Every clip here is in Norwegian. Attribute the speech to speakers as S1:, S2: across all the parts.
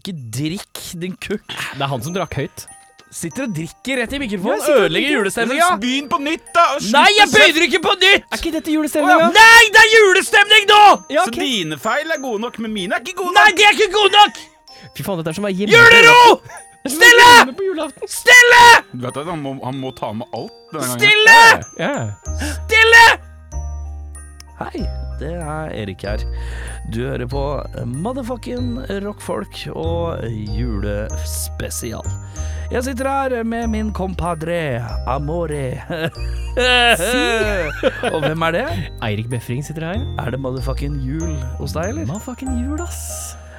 S1: Drikk, din kukk.
S2: Det er han som drakk høyt.
S1: Sitter og drikker rett i
S2: Ja,
S1: mikrofonen.
S2: sitter og
S1: Ødelegger
S2: drikker.
S1: julestemninga.
S3: Begynn på nytt, da! og slutt
S1: Nei, jeg
S3: å
S1: begynner ikke på
S2: Er
S1: nytt!
S2: ikke dette julestemninga?
S1: Nei, det er julestemning nå!
S2: Ja,
S3: Så
S2: ok.
S3: dine feil er gode nok, men mine er ikke gode
S1: Nei,
S3: nok!
S1: de er ikke gode nok!
S2: Fy faen, dette er som å være hjemme.
S1: Julero!
S2: Det er som å
S1: Stille!
S2: være hjemme på julaften.
S1: Stille!
S3: Du vet at han må, han må ta med alt denne gangen.
S1: Stille!
S2: Ja.
S1: Stille! Hei, det er Erik her. Du hører på motherfucking rockfolk og julespesial. Jeg sitter her med min compadre Amore. og hvem er det?
S2: Eirik Befring sitter her.
S1: Er det motherfucking jul hos deg, eller?
S2: Motherfucking jul, ass.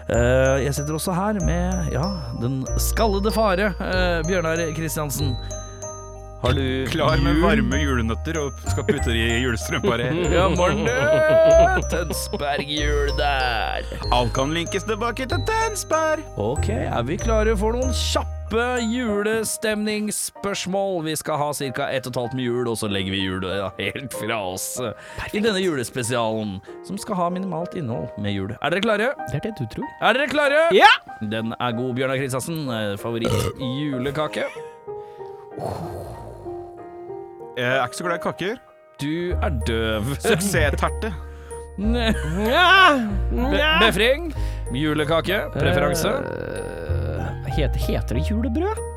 S1: Eh, jeg sitter også her med ja, den skallede fare, eh, Bjørnar Kristiansen. Har du
S3: Klar med
S1: jul?
S3: varme julenøtter og skal putte de i julestrømpa di.
S1: Ja, morgen, du! Tønsberg-jul der.
S3: Alt kan linkes tilbake til Tønsberg.
S1: Ok, er vi klare for noen kjappe julestemningsspørsmål? Vi skal ha ca. ett og et halvt med jul, og så legger vi jula ja, helt fra oss. eh, I denne julespesialen, som skal ha minimalt innhold med jul. Er dere klare?
S2: Det er det du tror.
S1: Er dere klare?
S2: Ja!
S1: Den er god, Bjørnar Kristiansen. Eh, Favoritt julekake.
S3: Jeg er ikke så glad i kaker.
S1: Du er døv.
S3: Suksessterte.
S1: Be befring. Julekake. Preferanse.
S2: Eh, heter, heter det julebrød?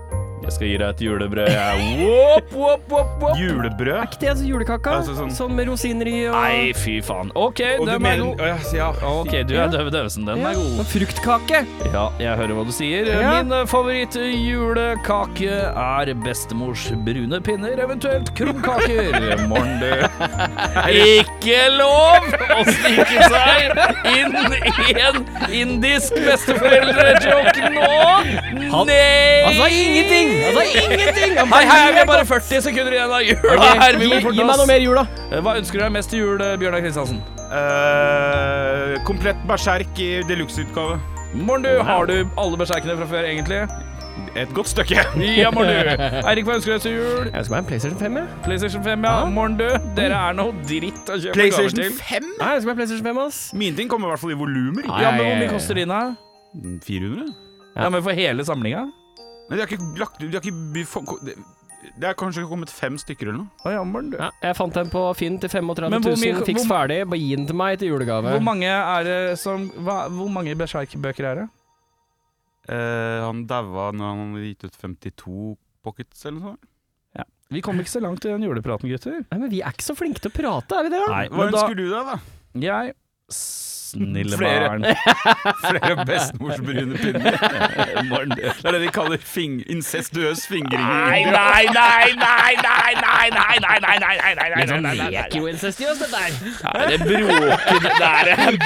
S1: Jeg skal gi deg et julebrød. jeg. Wop, wop, wop, wop.
S2: Er
S3: Julebrød.
S2: ikke det altså julekaka?
S3: Altså, sånn-
S2: Som med rosiner i og
S1: Nei, fy faen. OK,
S3: Og du
S1: den er
S3: mener
S1: god.
S3: Å, ja, ja.
S1: OK, du er døve døvesen. Den
S2: Ja,
S1: er god.
S2: og fruktkake.
S1: Ja, jeg hører hva du sier.
S2: Ja.
S1: Min eh, favorittjulekake er bestemors brune pinner, eventuelt krumkaker. Morn, du. Ikke lov å snike seg inn i en indisk besteforeldre-joke nå!
S2: Han sa
S1: Nei!
S2: Altså, ingenting! Han sa ingenting! Han
S1: Hei, hei, vi har bare 40 sekunder igjen av jula
S2: Ok,
S1: her. Vi må
S2: gi, gi
S1: forte
S2: meg noe
S1: oss. Eh,
S2: mer jul, da.
S1: Hva ønsker du deg mest til jul, Bjørnar Kristiansen?
S3: Eh, komplett berserk i deluxe-utgave.
S1: Morn, du. Har du alle berserkene fra før, egentlig?
S3: Et godt stykke.
S1: Ja, morn, du. Eirik, hva ønsker du deg til jul?
S2: Jeg skal ha en PlayStation 5, jeg.
S1: PlayStation 5, ja. Morn, du. Dere er noe dritt å kjøpe gaver
S3: PlayStation
S1: til.
S3: 5?
S2: Nei, jeg skal ha en PlayStation 5, ass.
S3: Mine ting kommer i hvert fall i volumer.
S2: Nei.
S1: Ja, men Hvor mye koster dine?
S3: 400?
S1: Ja, men For hele samlinga?
S3: Nei, de har ikke lagt de har ikke, vi får- det, det er kanskje kommet fem stykker eller noe.
S1: Å, ja, morn, du.
S2: Ja, jeg fant den på Finn til 35
S1: Men hvor
S2: 000.
S1: mye-
S2: Fiks
S1: hvor-
S2: ferdig. Bare gi den til meg til julegave.
S1: Hvor mange er det som hva, Hvor mange Berserk-bøker er det?
S3: Eh, han daua når han hadde gitt ut 52 pockets eller noe sånt.
S1: Vi kom ikke så langt i den julepraten, gutter.
S2: Nei, men vi er ikke så flinke til å prate, er vi det? da?
S1: Nei,
S3: Hva
S1: men da
S3: ønsker du deg, da?
S1: Jeg Snille
S3: Flere.
S1: barn.
S3: Flere bestemors brune pinner. det er det de kaller fing incestuøs fingring.
S1: Nei, nei, nei, nei, nei, nei, nei, nei, nei, nei, nei, nei, nei, nei, nei, nei.
S2: Mikroincestiøst, dette her.
S1: Nei, Det er brokete, det er en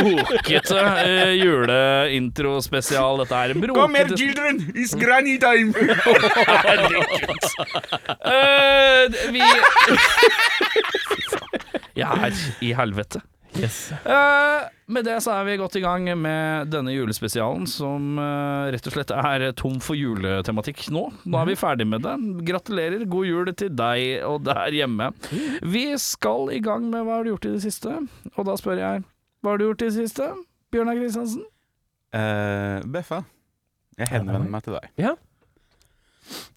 S1: brokete uh, juleintrospesial, dette er brokete.
S3: Kom her, children! It's granny time!
S1: Eh, vi Jeg er i helvete.
S2: Yes.
S1: Eh, med det så er vi godt i gang med denne julespesialen, som eh, rett og slett er tom for juletematikk nå. Nå er vi ferdig med det. Gratulerer, god jul til deg og der hjemme. Vi skal i gang med hva har du gjort i det siste? Og da spør jeg, hva har du gjort i det siste? Bjørnar Kristiansen?
S3: Eh, Beffa, jeg henvender meg til deg.
S2: Ja.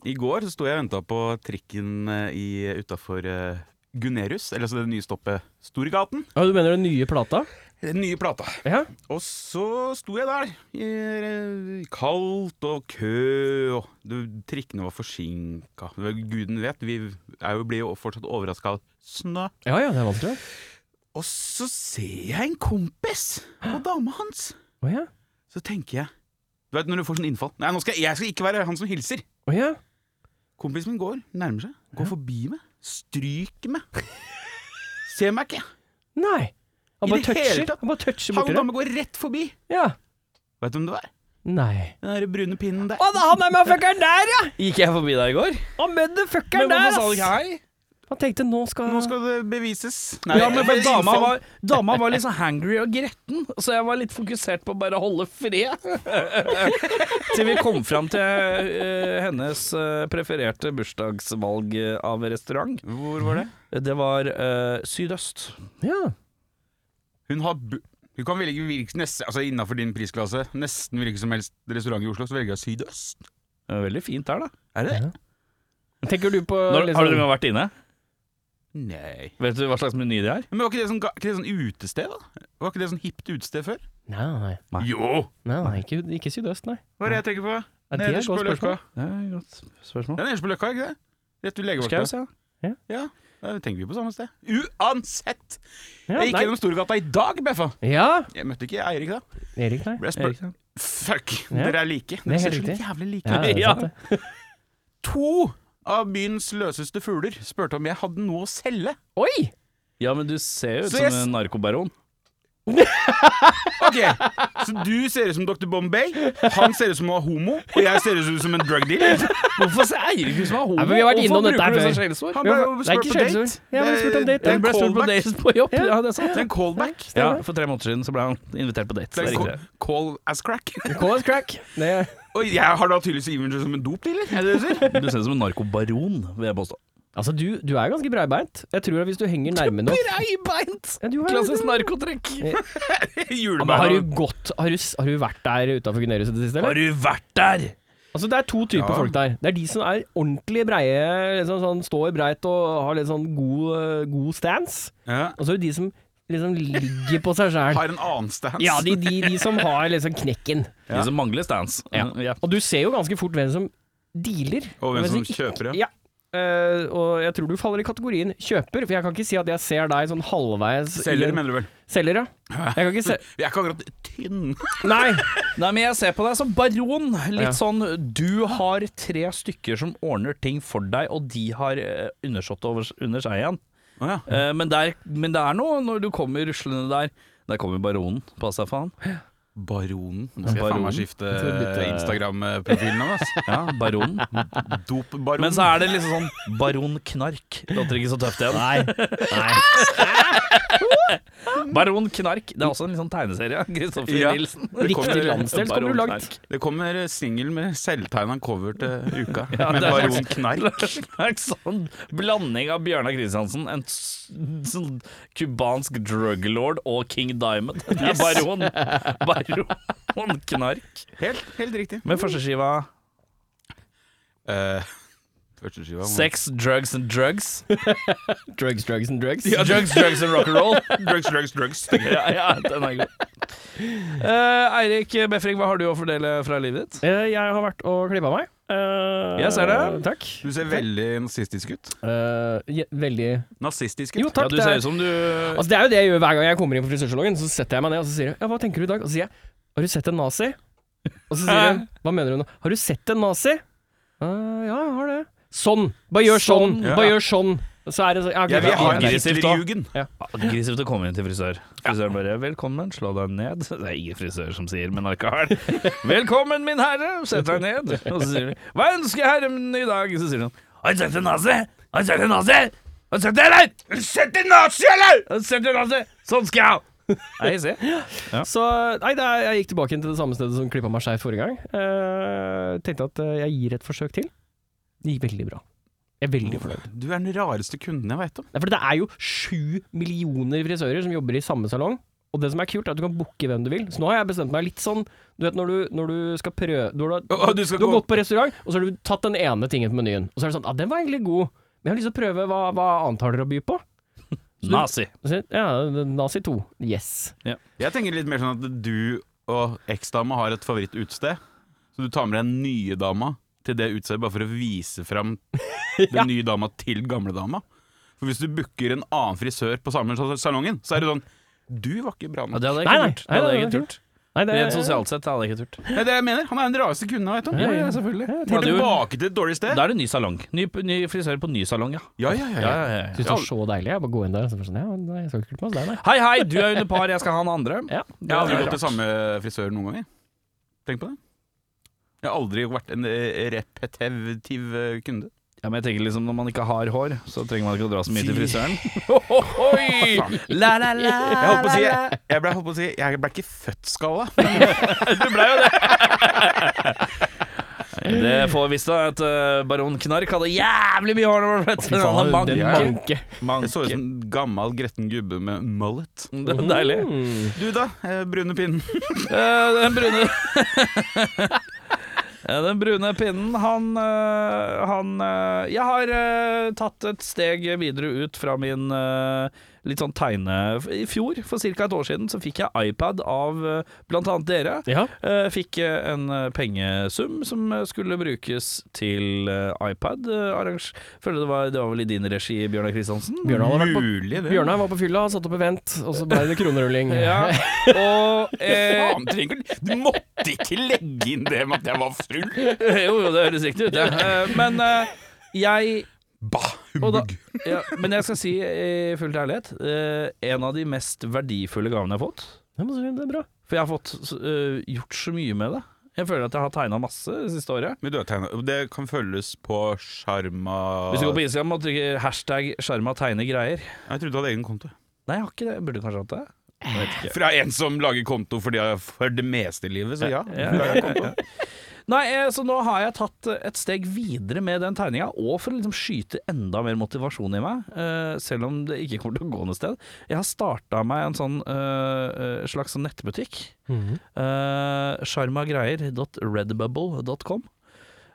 S3: I går så sto jeg og venta på trikken eh, i- utafor eh, Gunerius, eller altså det nye stoppet Storgaten.
S2: Ja, du mener den nye plata?
S3: Den nye plata.
S2: Ja.
S3: Og så sto jeg der, i, eh, kaldt og kø, og det, trikkene var forsinka. Guden vet, vi er jo, blir jo fortsatt overraska av snø.
S2: Ja ja, det er vanskelig.
S3: Og så ser jeg en kompis og dama hans.
S2: Å ja.
S3: Så tenker jeg Du vet når du får sånn innfall Nei, nå skal jeg, jeg skal ikke være han som hilser.
S2: Å ja.
S3: Kompisen min går, nærmer seg, går forbi meg, stryker meg. Ser meg ikke.
S2: Nei. Han
S3: I
S2: bare
S3: det hele
S2: toucher.
S3: tatt.
S2: Han bare toucher
S3: Han
S2: borti det.
S3: dama går rett forbi.
S2: Ja.
S3: Vet du hvem det var?
S2: Nei.
S3: Den der brune pinnen der.
S2: Å, det er han der motherfuckeren der, ja!
S1: Gikk jeg forbi deg i går?
S2: Han motherfuckeren
S1: Men
S2: der,
S1: hvorfor sa du ikke
S2: ass! Han tenkte nå skal,
S3: Nå skal det bevises.
S1: ja, men for
S3: det-
S1: dama var, dama var liksom hangry og gretten, så jeg var litt fokusert på å bare holde fred. Til vi kom fram til eh, hennes eh, prefererte bursdagsvalg eh, av restaurant.
S3: Hvor var det?
S1: Det var eh, sydøst.
S2: Ja.
S3: Hun har bu... Du kan velge hvilken neste, altså innenfor din prisklasse, nesten hvilken som helst restaurant i Oslo, så velger jeg sydøst.
S1: Det er veldig fint der, da.
S3: Er det det?
S2: Tenker du på
S1: Når,
S2: liksom-
S1: har dere vært inne?
S3: Nei.
S1: Vet du hva slags meny det er?
S3: Men var ikke det sånn, ga- ikke det sånn utested, da? Var ikke det sånn hipt utested før?
S2: Nei,
S1: Nei.
S3: Jo!
S2: nei ikke, ikke sydøst, nei.
S3: Hva er det jeg tenker på?
S2: Ja, det er et
S3: Nederst
S2: godt
S3: på Løkka.
S2: spørsmål.
S1: Det er et godt spørsmål.
S3: Det er nederst på Løkka, ikke det? Rett ved legevakta.
S1: Skaus, ja.
S3: Ja, da tenker vi på samme sted. Uansett!
S2: Ja,
S3: Jeg gikk
S2: nei.
S3: gjennom Storgata i dag, Beffa.
S2: ja,
S3: Jeg møtte ikke Eirik da.
S2: Erik, nei.
S3: Ble jeg spurt-
S1: Erik, ja.
S3: Fuck!
S2: Ja.
S3: Dere er like.
S2: Det er
S3: Dere ser
S2: helt
S3: så
S2: riktig.
S3: jævlig like
S2: Ja,
S3: ut.
S2: det er
S1: Ja.
S2: sant, det.
S3: To av byens løseste fugler spurte om jeg hadde noe å selge.
S2: Oi!
S1: ja, men du ser jo ut
S3: Så
S1: som
S3: jeg s-
S1: en narkobaron.
S3: Ok, Så du ser ut som Dr. Bombay, han ser ut som han er homo, og jeg ser ut som en drug dealer.
S1: Hvorfor ser Eirik ut som han er homo?
S2: Nei, men vi har vært innom dette her før.
S1: sånn skjellsord?
S3: Han ble jo
S2: Det er
S3: spurt
S2: ikke
S3: på date.
S2: skjellsord. Ja, men spurt om date,
S3: Det
S1: Jeg
S3: er en
S1: ble spurt på
S3: callback.
S1: dates på jobb.
S2: Ja.
S1: Ja, det er
S3: Det er
S1: sant.
S3: en callback.
S1: Ja, For tre måneder siden så ble han invitert på date.
S3: Det
S1: Det
S3: er
S1: er
S3: en
S1: riktig.
S3: call, call as crack.
S2: Call us crack. Det,
S3: Og jeg har da tydeligvis image som en dopdealer. Er det det du sier?
S1: Du ser ut som en narkobaron, vil jeg påstå.
S2: altså, du, du er ganske breibeint. Jeg tror at hvis du henger nærme nok
S1: Breibeint!
S2: ja, du er-
S1: Klassisk narkotrekk.
S2: Ja, men har
S3: Julebeina.
S2: du gått Har du, s- har du vært der utafor Gunerius i det siste, eller?
S1: Har du vært der?
S2: Altså, det er to typer
S3: Ja.
S2: folk der. Det er de som er ordentlig breie, liksom sånn står breit og har litt sånn god, eh, god stance.
S3: Ja.
S2: Og så er det de som liksom ligger på seg sjæl.
S3: Har en annen stance.
S2: Ja, de, de, de som har liksom knekken.
S1: De som mangler stands. Ja.
S2: Og du ser jo ganske fort hvem som dealer.
S3: Og hvem som
S2: ikke-
S3: kjøper det.
S2: Ja. Eh, og jeg tror du faller i kategorien kjøper, for jeg kan ikke si at jeg ser deg sånn halvveis i
S3: Selger,
S2: en-
S3: mener du vel?
S2: Selger, ja. Jeg kan ikke se
S3: Jeg er ikke akkurat tynn.
S2: Nei!
S1: Nei, men jeg ser på deg som baron. Litt
S2: Ja.
S1: sånn Du har tre stykker som ordner ting for deg, og de har eh, undersått over, under seg igjen.
S3: Å ja.
S1: Eh, men, det er- men det er noe når du kommer ruslende der. Der kommer baronen, pass deg faen.
S3: Baronen. Nå skal jeg faen
S1: Baronen.
S3: meg skifte
S2: tror jeg bytter-
S3: Instagram-profilen av oss.
S1: Ja, baronen.
S3: Dopbaron.
S1: Men så er det liksom sånn Baron Knark. Låter ikke så tøft igjen. Nei.
S2: Mm.
S1: Baron Knark. Det er også en litt sånn tegneserie. Kristoffer
S3: Ja.
S1: Nilsen.
S2: Riktig landsdel kommer du
S1: Baron
S2: langt.
S3: Det kommer singel med selvtegna cover til uka,
S1: Ja,
S3: med
S1: det er-
S3: Baron Knark.
S1: Knark. Sånn blanding av Bjørnar Kristiansen, en s- sånn cubansk druglord og King Diamond. Det er baron. Baron Knark.
S3: Helt, helt riktig.
S1: Men første skiva
S3: Eh, første skiva må-
S1: Sex, drugs and drugs.
S2: Drugs, drugs and drugs.
S1: Drugs, drugs and rock'n'roll.
S3: Drugs, drugs, drugs.
S1: ja, ja, den er god. Eh, Eirik Befring, hva har du å fordele fra livet ditt?
S2: Eh, jeg har vært og klippa meg. Eh,
S1: Jeg ser det.
S2: Takk.
S3: Du ser veldig nazistisk ut.
S2: Eh, je- veldig
S3: Nazistisk ut.
S2: Jo, takk.
S1: ja, du
S2: det,
S1: ser
S2: er,
S1: ut som du
S2: altså, det er jo det jeg gjør hver gang jeg kommer inn på frisørsalongen. Så setter jeg meg ned og så sier jeg, ja, hva tenker du i dag? Og så sier jeg har du sett en nazi? Og så sier hun hva mener du nå? Har du sett en nazi? «Eh, ja, jeg har det. Sånn! Bare gjør sånn!
S3: Sånn.
S2: Bare gjør sånn! Så er det sånn. Ja,
S3: Jeg vil ha en
S1: Aggressivt, da.
S3: Hitlerjugend.
S1: Aggressivt å komme inn til frisør. Frisøren bare 'velkommen, slå deg ned'. Det er ingen frisør som sier, men allikevel. 'Velkommen, min herre, sett deg ned'. Og så sier de 'hva ønsker herren i dag'? Så sier han 'har du sett en nazi? Har du sett en nazi? Har du sett det, eller? Har du sett en nazi, eller? Har du sett en nazi? Sånn skal jeg ha!' Nei, se.
S2: Så nei, det er, jeg gikk tilbake inn til det samme stedet som klippa meg skeiv forrige gang. Eh, tenkte at eh, jeg gir et forsøk til. Det gikk veldig bra. Jeg er veldig fornøyd.
S3: Du er den rareste kunden jeg veit om.
S2: Nei, for det er jo sju millioner frisører som jobber i samme salong. Og det som er kult, er at du kan booke hvem du vil. Så nå har jeg bestemt meg litt sånn Du vet når du, når du skal prøve Du har, da-
S3: Å, du skal
S2: du har
S3: gå-
S2: gått på restaurant, og så har du tatt den ene tingen på menyen. Og så er det sånn Ja, den var egentlig god, men jeg har lyst til å prøve hva, hva annet har dere å by på?
S1: Nazi.
S2: Og så sier jeg, Ja, Nazi 2. Yes.
S3: Jeg tenker litt mer sånn at du og eksdama har et favorittutested, så du tar med deg den nye dama til det utestedet bare for å vise fram den nye dama til gamle dama. For hvis du booker en annen frisør på samme sal- salongen, så er det sånn Du var ikke bra
S1: Ja,
S3: nok.
S1: det hadde jeg
S2: Nei,
S1: ikke
S2: nei.
S1: turt. Det hadde
S2: Nei,
S1: jeg ikke
S2: nei, nei.
S1: turt.
S2: Nei, det
S1: Rent sosialt sett hadde jeg ikke turt.
S3: Det er det jeg mener. Han er den rareste kunden jeg vet om.
S2: Ja, ja,
S1: selvfølgelig.
S3: Går tilbake til et dårlig sted.
S1: Da er det ny salong. Ny, ny frisør på ny salong, ja.
S3: Ja, ja, ja. ja.
S2: Syns det var så deilig. Jeg bare går inn der og så bare sånn Ja, nei, jeg skal ikke klippe meg hos deg, nei.
S1: Hei, hei, du er under par, jeg skal ha en andre.
S2: Ja.
S3: Jeg har aldri
S1: Ja,
S3: gått til samme frisør noen ganger. Tenk på det. Jeg har aldri vært en eh, repetitiv eh, kunde.
S1: Ja, men jeg tenker liksom Når man ikke har hår, så trenger man ikke å dra så mye til
S3: Fy.
S1: frisøren.
S3: Oi!
S1: La, la, la,
S3: Jeg holdt på å si Jeg, jeg ble, holdt på å si, jeg ble ikke født skalla.
S1: Du ble jo det. eh, Det får visst da at eh, baron Knark hadde jævlig mye hår. når han ble født.
S2: faen,
S1: Han hadde
S2: den
S1: manke.
S2: manke.
S1: Manke.
S3: Jeg så ut som en gammel gretten gubbe med mullet.
S1: Det er deilig.
S2: Mm.
S3: Du da, eh, brune pinnen.
S1: Eh, den brune Eh, Den brune pinnen, han, eh, han eh, Jeg har eh, tatt et steg videre ut fra min eh, litt sånn tegne... I fjor, for ca. et år siden, så fikk jeg iPad av eh, blant annet dere.
S2: Ja.
S1: Eh, Fikk eh, en eh, pengesum som eh, skulle brukes til eh, iPad. Eh, Arrange... Føler det var, det var vel i din regi, Bjørnar Kristiansen? Mm.
S2: Bjørnar har vært på
S3: Mulig, det.
S2: Bjørnar var på fylla, satt opp event, og så ble det kronerulling.
S1: Ja, og eh,
S3: Faen, trenger du Du måtte ikke legge inn det med at jeg var full!
S1: Jo, jo, det høres riktig ut, ja. Eh, Men eh, jeg
S3: Bah,
S1: og da,
S3: humbug.
S1: ja, Men jeg skal si i full ærlighet eh, En av de mest verdifulle gavene jeg har fått
S2: Ja, men så- Det er bra.
S1: For jeg har fått eh, gjort så mye med det Jeg føler at jeg har tegnet masse det siste året
S3: Men du har tegnet- Det kan følges på sjarma
S1: Hvis du går på Instagram og trykker hashtag skjerma tegne greier
S3: Jeg trodde du hadde egen konto.
S1: Nei, jeg har ikke det, jeg burde kanskje hatt det Jeg vet ikke
S3: Fra en som lager konto for de- for det meste i livet, så ja.
S1: Ja,
S3: det er en konto.
S1: Nei, eh, så nå har jeg tatt eh, et steg videre med den tegninga, og for å liksom skyte enda mer motivasjon i meg, eh, selv om det ikke kommer til å gå noe sted. Jeg har starta meg en sånn eh, eh, slags sånn nettbutikk.
S3: Mhm.
S1: Eh, Sjarmagreier.redbubble.com.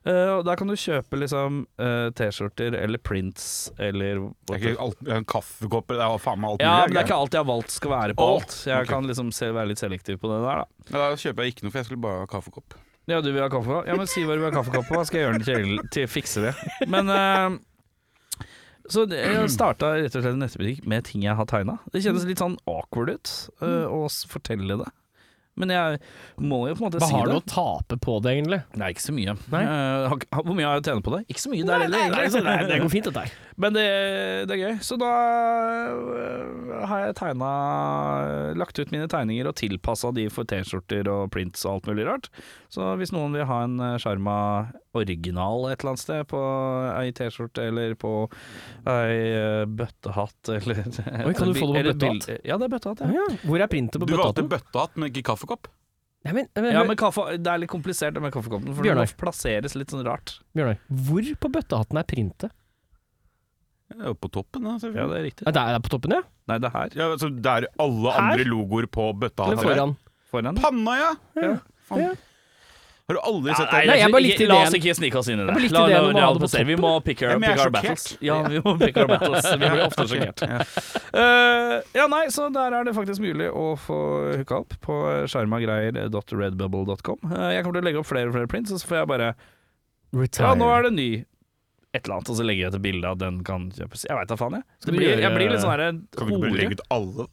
S1: Eh, og der kan du kjøpe liksom eh, T-skjorter eller prints eller
S3: Det er ikke alt, det er en kaffekopp Det er faen meg alt
S1: Ja, men det er
S3: mulig.
S1: ikke alt jeg har valgt skal være på
S3: Å,
S1: alt. Jeg
S3: ok.
S1: kan liksom se, være litt selektiv på det der, da.
S3: Ja, Da kjøper jeg ikke noe, for jeg skulle bare ha kaffekopp.
S1: Ja, du vil ha kaffekopp? Ja, men si hva du vil ha kaffekopp på, da skal jeg gjøre den til, til fikse det. Men eh, Så det- jeg starta rett og slett en nettbutikk med ting jeg har tegna. Det kjennes litt sånn awkward ut eh, å s- fortelle det. Men jeg må jo på en måte
S2: Hva
S1: si
S2: har du
S1: det.
S2: å tape på det, egentlig?
S1: Nei, ikke så mye.
S2: Nei.
S1: Eh, har- har- hvor mye har jeg å tjene på det? Ikke så mye der heller, egentlig.
S2: det går fint, dette her.
S1: Men det, det er gøy. Så da øh, har jeg tegna Lagt ut mine tegninger og tilpassa de for T-skjorter og prints og alt mulig rart. Så hvis noen vil ha en øh, skjerma original et eller annet sted, på ei T-skjorte eller på ei øh, bøttehatt eller
S2: Oi, kan du få det på
S1: eller
S2: bøttehatt?
S1: bil- Ja, det er bøttehatt, ja.
S2: Hvor er printet på
S3: Du valgte
S2: bøttehatten?
S3: bøttehatt, men ikke kaffekopp?
S2: Nei, men, men,
S1: Ja, men kaffe, Det er litt komplisert det med kaffekoppen, for
S2: Bjørnar.
S1: den må plasseres litt sånn rart.
S2: Bjørnar, hvor på bøttehatten er printet?
S3: Ja, på toppen, da,
S1: Ja,
S3: selvfølgelig.
S1: det er riktig.
S2: Ja, det er det er på toppen, ja?
S1: Nei, det er her.
S3: Ja, altså, det er alle andre logoer på
S2: Eller
S3: bøttehatt.
S2: foran?
S1: Foran.
S3: Panna, ja!
S1: Ja.
S3: Faen.
S2: Ja.
S3: Har du aldri sett
S1: Nei,
S3: det?
S2: Nei, jeg bare likte
S1: La
S2: ideen.
S1: oss ikke snike oss inn i det.
S2: bare likte
S1: La, la,
S2: ideen om å
S1: la,
S2: ha
S1: oss
S2: det på
S1: se. Vi må pick our,
S3: Nei, men jeg
S1: pick our
S3: er
S1: battles.
S3: sjokkert.
S1: Ja, vi må pick our battles. Vi blir ofte sjokkert.
S3: Ja.
S1: Eh, ja, nei, så der er det faktisk mulig å få hooka opp på skjermagreier.redbubble.com. Eh, jeg kommer til å legge opp flere og flere prints, og så får jeg bare Ja, nå er det ny et eller annet, og så legger jeg til bilde av at den kan kjøpes. Jeg veit da faen, jeg.
S2: Skal
S1: Det
S2: du
S1: blir,
S2: gjøre-
S1: jeg blir litt sånn her
S3: Kan du ikke bare legge ut alle, da?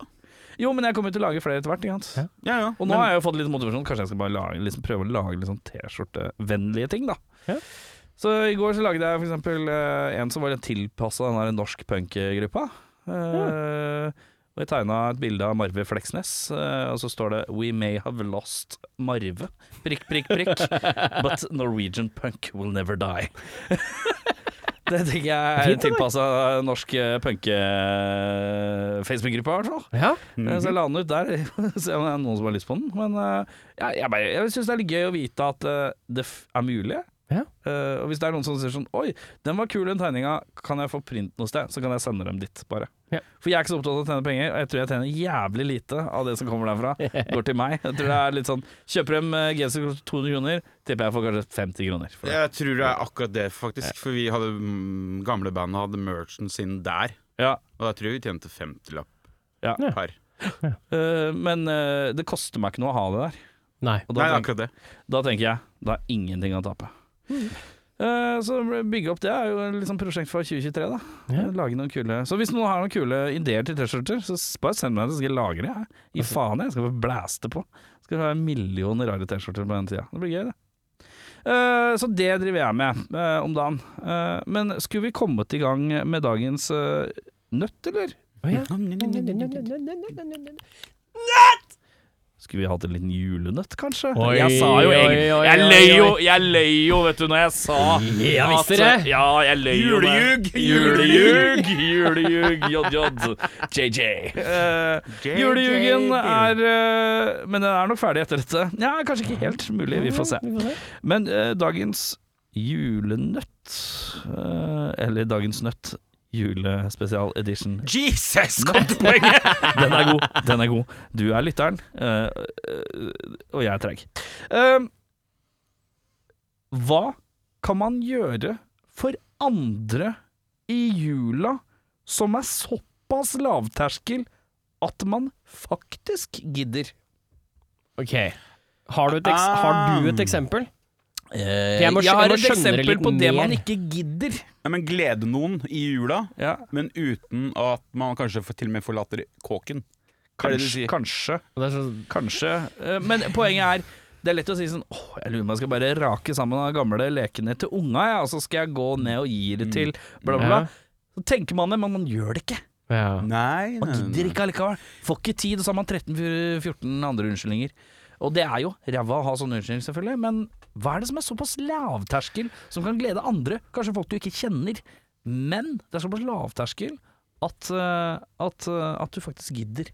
S1: Jo, men jeg kommer til å lage flere etter hvert. Ikke sant?
S2: Ja.
S3: Ja, ja.
S1: Og nå har jeg jo fått litt motivasjon. Kanskje jeg skal bare lage, liksom, prøve å lage litt sånn T-skjortevennlige ting, da.
S2: Ja.
S1: Så i går så lagde jeg for eksempel eh, en som var litt tilpassa den der norsk punk-gruppa. Eh, Og jeg tegna et bilde av Marve Fleksnes, eh, og så står det 'We may have lost Marve'. Prikk, prikk, prikk. But Norwegian punk will never die. Det tenker jeg er
S2: Fint, da,
S1: tilpassa norsk eh, punke-Facebook-gruppa, i hvert fall.
S2: Ja?
S1: Eh,
S2: Mhm.
S1: Så jeg la den ut der, se om det er noen som har lyst på den. Men eh, jeg, jeg, bare- jeg syns det er litt gøy å vite at eh, det f er mulig.
S2: Ja.
S1: Eh, og hvis det er noen som sier sånn Oi, den var kul den tegninga, kan jeg få print noe sted? Så kan jeg sende dem dit, bare.
S2: Ja.
S1: For jeg er ikke så opptatt av å tjene penger, og jeg tror jeg tjener jævlig lite av det som kommer derfra. Går til meg. Jeg tror det er litt sånn Kjøper dem eh, genser for 200 kroner, tipper jeg får kanskje 50 kroner. For det.
S3: Mhm. Jeg tror det er akkurat det, faktisk. For vi hadde mm, gamle bandet hadde merchen sin der.
S1: Ja.
S3: Og da tror jeg vi tjente 50-lapp
S1: Ja.
S3: per.
S1: Eh, men eh, det koster meg ikke noe å ha det der.
S2: Nei.
S1: Og da
S3: Nei,
S1: tenker-
S3: akkurat det.
S1: Da tenker jeg da er ingenting å tape. Eh, Så bygge opp det er jo liksom prosjekt for 2023, da. Eh,
S2: Ja.
S1: Lage noen kule Så hvis noen har noen kule ideer til T-skjorter, så s- bare send meg det, så skal jeg lagre det. jeg. Gi faen, jeg skal bare blæste på. Skal ha en million rare T-skjorter på den tida. Det blir gøy, det. Eh, Så det driver jeg med eh, om dagen. Eh, Men skulle vi kommet i gang med dagens eh, nøtt, eller?
S2: Å, ja.
S1: Skulle vi hatt en liten julenøtt, kanskje?
S2: Oi,
S1: jeg sa jo
S2: oi,
S1: egentlig
S2: oi,
S1: Jeg
S2: oi,
S1: løy jo,
S2: oi.
S1: jeg løy jo, vet du, når jeg sa
S2: Ja,
S1: at-
S2: visste det.
S1: Ja, jeg løy jo det.
S3: Julejug!
S1: Julejug! Julejug, JJ. JJ. Eh,
S3: JJ,
S1: Julejugen er eh, Men den er nok ferdig etter dette. Ja, kanskje ikke helt mulig, vi får se. Men eh, dagens julenøtt. eh, Eller dagens nøtt. Julespesial edition.
S3: Jesus, kom til poenget!
S1: Den er god. Den er god. Du er lytteren, eh, eh, og jeg er treig. Eh, hva kan man gjøre for andre i jula som er såpass lavterskel at man faktisk gidder?
S2: Ok. Har du et, eks har du et eksempel? jeg må skj-
S1: Eh, jeg har
S2: jeg må
S1: et
S2: skjønne det
S1: eksempel
S2: litt
S1: på det man
S2: mer.
S1: ikke gidder.
S3: Nei, men glede noen i jula,
S1: Ja,
S3: men uten at man kanskje får- til og med forlater kåken. Hva er det du
S1: kanskje,
S3: sier?
S1: kanskje,
S2: Det er så,
S1: kanskje. Eh, Men poenget er det er lett å si sånn Åh, jeg lurer på om jeg skal bare rake sammen de gamle lekene til unga, ja, og så skal jeg gå ned og gi det til bla, bla, bla.
S2: Ja.
S1: Så tenker man det, men man gjør det ikke.
S2: ja.
S3: Nei,
S1: Man gidder ikke allikevel. Får ikke tid, og så har man 13-14 andre unnskyldninger. Og det er jo ræva å ha sånne unnskyldninger, selvfølgelig, men hva er det som er såpass lavterskel som kan glede andre, kanskje folk du ikke kjenner, men det er såpass lavterskel at, eh, at, eh, at du faktisk gidder.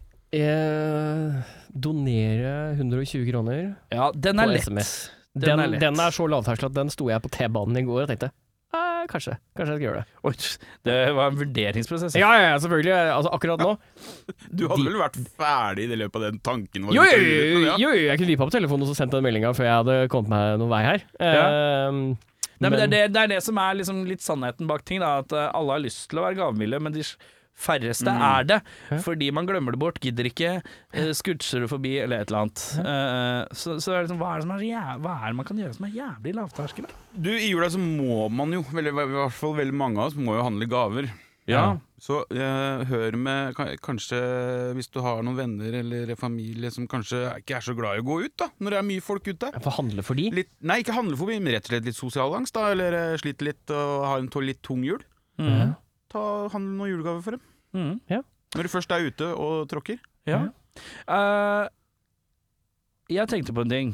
S2: Eh, donere 120 kroner
S1: Ja, den
S2: på
S1: er lett.
S2: SMS.
S1: Den
S2: Den,
S1: er lett.
S2: den er så lavterskel at den sto jeg på T-banen i går og tenkte eh, kanskje. Kanskje jeg skal gjøre det.
S1: Oi, det var en vurderingsprosess.
S2: Ja, ja, ja, selvfølgelig. Altså, akkurat nå.
S3: Du hadde vel vært ferdig i det løpet av den tanken? var
S2: Jo,
S3: ute
S2: jo,
S3: i
S2: jo,
S3: verden,
S2: jo,
S3: ja.
S2: jo, jeg kunne vipa på telefonen og så sendt den meldinga før jeg hadde kommet meg noen vei her. Eh,
S1: Nei, men det, er det, det er det som er liksom litt sannheten bak ting. Da, at eh, alle har lyst til å være gavmilde, men de s- færreste er det. Fordi man glemmer det bort, gidder ikke, uh, skutser det forbi eller et eller annet. Eh, så så er det liksom, hva, er det som er, jæv- hva er det man kan gjøre som er jævlig lavterskel? da?
S3: Du, I jula så må man jo, veldig, i hvert fall veldig mange av oss, må jo handle gaver.
S1: Ja.
S3: Så eh, hør med ka- Kanskje hvis du har noen venner eller familie som kanskje ikke er så glad i å gå ut, da, når det er mye folk ute.
S2: Jeg får handle for de.
S3: Litt, nei, ikke handlefobi, men rett og slett litt sosial angst, da, eller eh, sliter litt og har en to- litt tung jul.
S1: Mhm.
S3: Ta Handle noen julegaver for dem.
S1: Mhm.
S3: Når du først er ute og tråkker.
S1: Ja. Eh, jeg tenkte på en ting.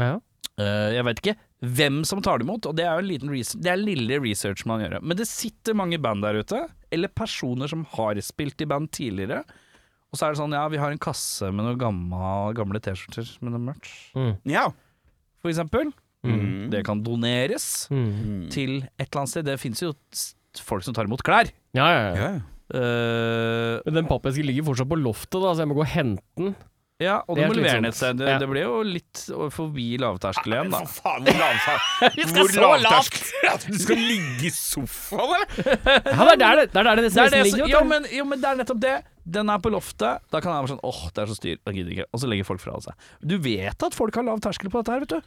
S2: Ja.
S1: Eh, jeg veit ikke hvem som tar det imot, og det er jo en liten research, det er lille research man gjør. Men det sitter mange band der ute, eller personer som har spilt i band tidligere. Og så er det sånn, ja, vi har en kasse med noen gamle, gamle T-skjorter med noe merch,
S2: Mm.
S3: Ja.
S1: for eksempel.
S2: Mm.
S3: Mm.
S1: Det kan doneres
S2: Mm.
S1: til et eller annet sted. Det fins jo s- folk som tar imot klær.
S2: Ja, ja, ja.
S3: Ja, ja.
S1: Eh,
S2: Men den pappesken ligger fortsatt på loftet, da, så jeg må gå og hente den.
S1: ja, og du
S2: Det er
S1: må levere den
S2: slitsomt.
S1: et sted. Det,
S2: Ja.
S1: det blir jo litt forbi lavterskel igjen, da.
S3: For faen, hvor lavt
S2: Vi
S3: Hvor lavt? Du skal ligge i sofaen, eller?
S2: Ja, det er der det, det, er der
S1: Det
S2: det
S1: er
S2: nesten
S1: det, som-
S2: ligger.
S1: jo,
S2: vet du.
S1: men, jo, men det er nettopp det. Den er på loftet. Da kan jeg være sånn åh, det er så styr, jeg gidder ikke. Og så legger folk fra seg. Du vet at folk har lav terskel på dette her, vet du.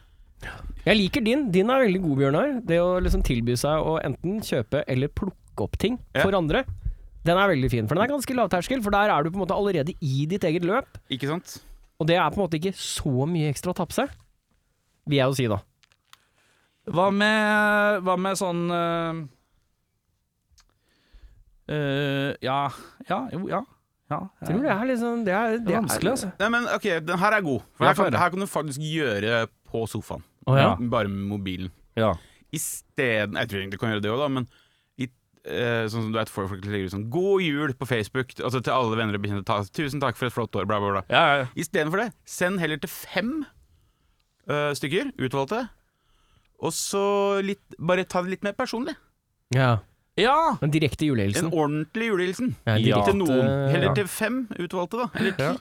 S2: Jeg liker din. Din er veldig god, Bjørnar. Det å liksom tilby seg å enten kjøpe eller plukke opp ting
S3: Ja.
S2: for andre. Den er veldig fin, for den er ganske lavterskel. For der er du på en måte allerede i ditt eget løp,
S3: Ikke sant?
S2: og det er på en måte ikke så mye ekstra å tapse. Vil jeg jo si, da.
S1: Hva med, hva med sånn øh, øh, Ja. Ja, jo, ja. ja, ja.
S2: Tror det er liksom Det er,
S1: Det er vanskelig, altså.
S3: Nei, men ok, den her er god. For
S1: Ja,
S3: her,
S1: få
S3: kan,
S1: høre.
S3: her kan du faktisk gjøre på sofaen.
S2: Å ja.
S3: Bare med mobilen.
S1: Ja.
S3: Isteden Jeg tror egentlig du kan gjøre det òg, da, men i, eh, sånn som du vet, folk folk legger ut sånn 'God jul' på Facebook altså til alle venner og bekjente. Ta, 'Tusen takk for et flott år', bla, bla, bla.
S1: Ja, ja.
S3: Istedenfor det, send heller til fem eh, stykker, utvalgte. Og så litt, bare ta det litt mer personlig.
S2: ja.
S1: ja.
S2: En direkte
S3: En
S2: julehilsen.
S3: ordentlig julehilsen.
S2: Ja,
S1: Ja.
S3: Til noen. Heller
S2: ja.
S3: til fem utvalgte, da. Eller ti.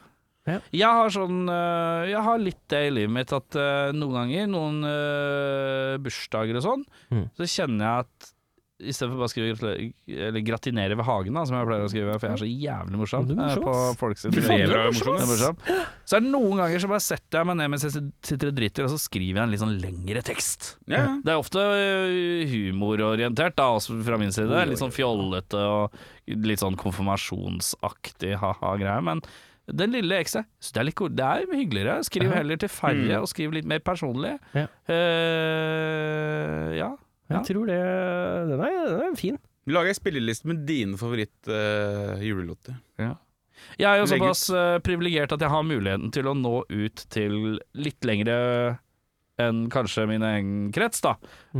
S1: Ja. Jeg har sånn øh, Jeg har litt det i livet mitt at øh, noen ganger, noen øh, bursdager og sånn,
S2: Mm.
S1: så kjenner jeg at i stedet for bare å skrive gratulerer- eller 'gratinere ved hagen', da, som jeg pleier å skrive, for jeg er så jævlig morsom
S2: Du er
S1: eh,
S2: morsom,
S1: på
S2: ass.
S1: folk sine
S3: Du
S1: Jeg er
S3: fader, du er
S1: morsom,
S3: morsom,
S1: jeg er morsom. Så er det noen ganger så bare setter jeg meg ned mens jeg sitter og driter, og så skriver jeg en litt sånn lengre tekst.
S3: Ja, ja.
S1: Det er ofte ø, humororientert, da, også fra min side. Litt sånn fjollete og litt sånn konfirmasjonsaktig ha-ha-greie. Men den lille ekstra så det, er litt, ko- det er hyggeligere. Skriv heller til
S3: Mm.
S1: færre, og skriv litt mer personlig.
S2: Ja.
S1: Eh, ja. Ja.
S2: Jeg tror det Den er, den er fin.
S3: Lag ei spilleliste med dine eh, favoritt-julelåter.
S1: Jeg er
S3: Legg
S1: jo
S3: ut.
S1: såpass eh, privilegert at jeg har muligheten til å nå ut til litt lengre enn kanskje min egen krets, da. Eh,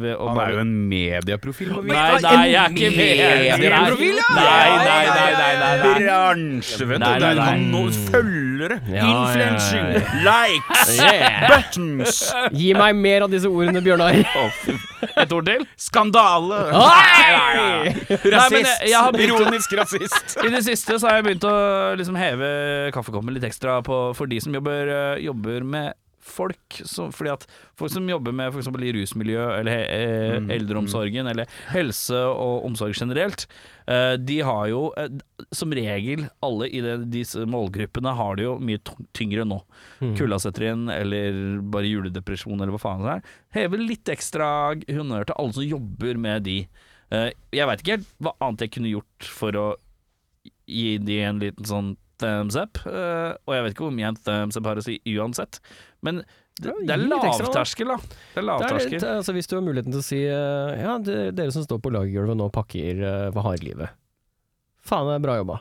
S1: ved å
S3: Mm. Han er jo en medieprofil. må vi-
S1: Nei, nei, jeg er ikke med.
S3: Medieprofil, ja!
S1: Nei, nei, nei, nei, nei, nei.
S3: Bransjevenn.
S1: Nei, nei,
S3: Du
S1: nei.
S3: kan nå følge følgere.
S2: Ja, ja, ja, ja.
S3: Influencing, likes,
S2: Yeah.
S3: buttons,
S2: Gi meg mer av disse ordene, Bjørnar.
S1: Et ord til?
S3: skandale,
S2: Oi!
S1: Nei, men jeg- jeg har brukt-
S3: ironisk rasist.
S1: I det siste så har jeg begynt å liksom heve kaffekoppen litt ekstra på, for de som jobber, eh, jobber med folk. Så, fordi at folk som jobber med f.eks. i rusmiljø, eller eh, eldreomsorgen, eller helse og omsorg generelt, eh, de har jo eh, som regel alle i det, disse målgruppene har det jo mye tung- tyngre nå.
S2: Hmm. Mm.
S1: Kulda setter inn, eller bare juledepresjon, eller hva faen det er. Hever litt ekstra honnør til alle som jobber med de. Eh, Jeg veit ikke helt hva annet jeg kunne gjort for å gi de en liten sånn thumbs up. eh, og jeg vet ikke hvor mye en thumbs up har å si uansett, men det, det
S2: Ja,
S1: er
S2: gi litt ekstra, da.
S1: lavterskel, da. Det er
S2: Det er litt,
S1: lavterskel.
S2: altså, hvis du har muligheten til å si eh, Ja, dere, dere som står på lagergulvet nå og pakker eh, hva har livet. Faen, det er bra jobba.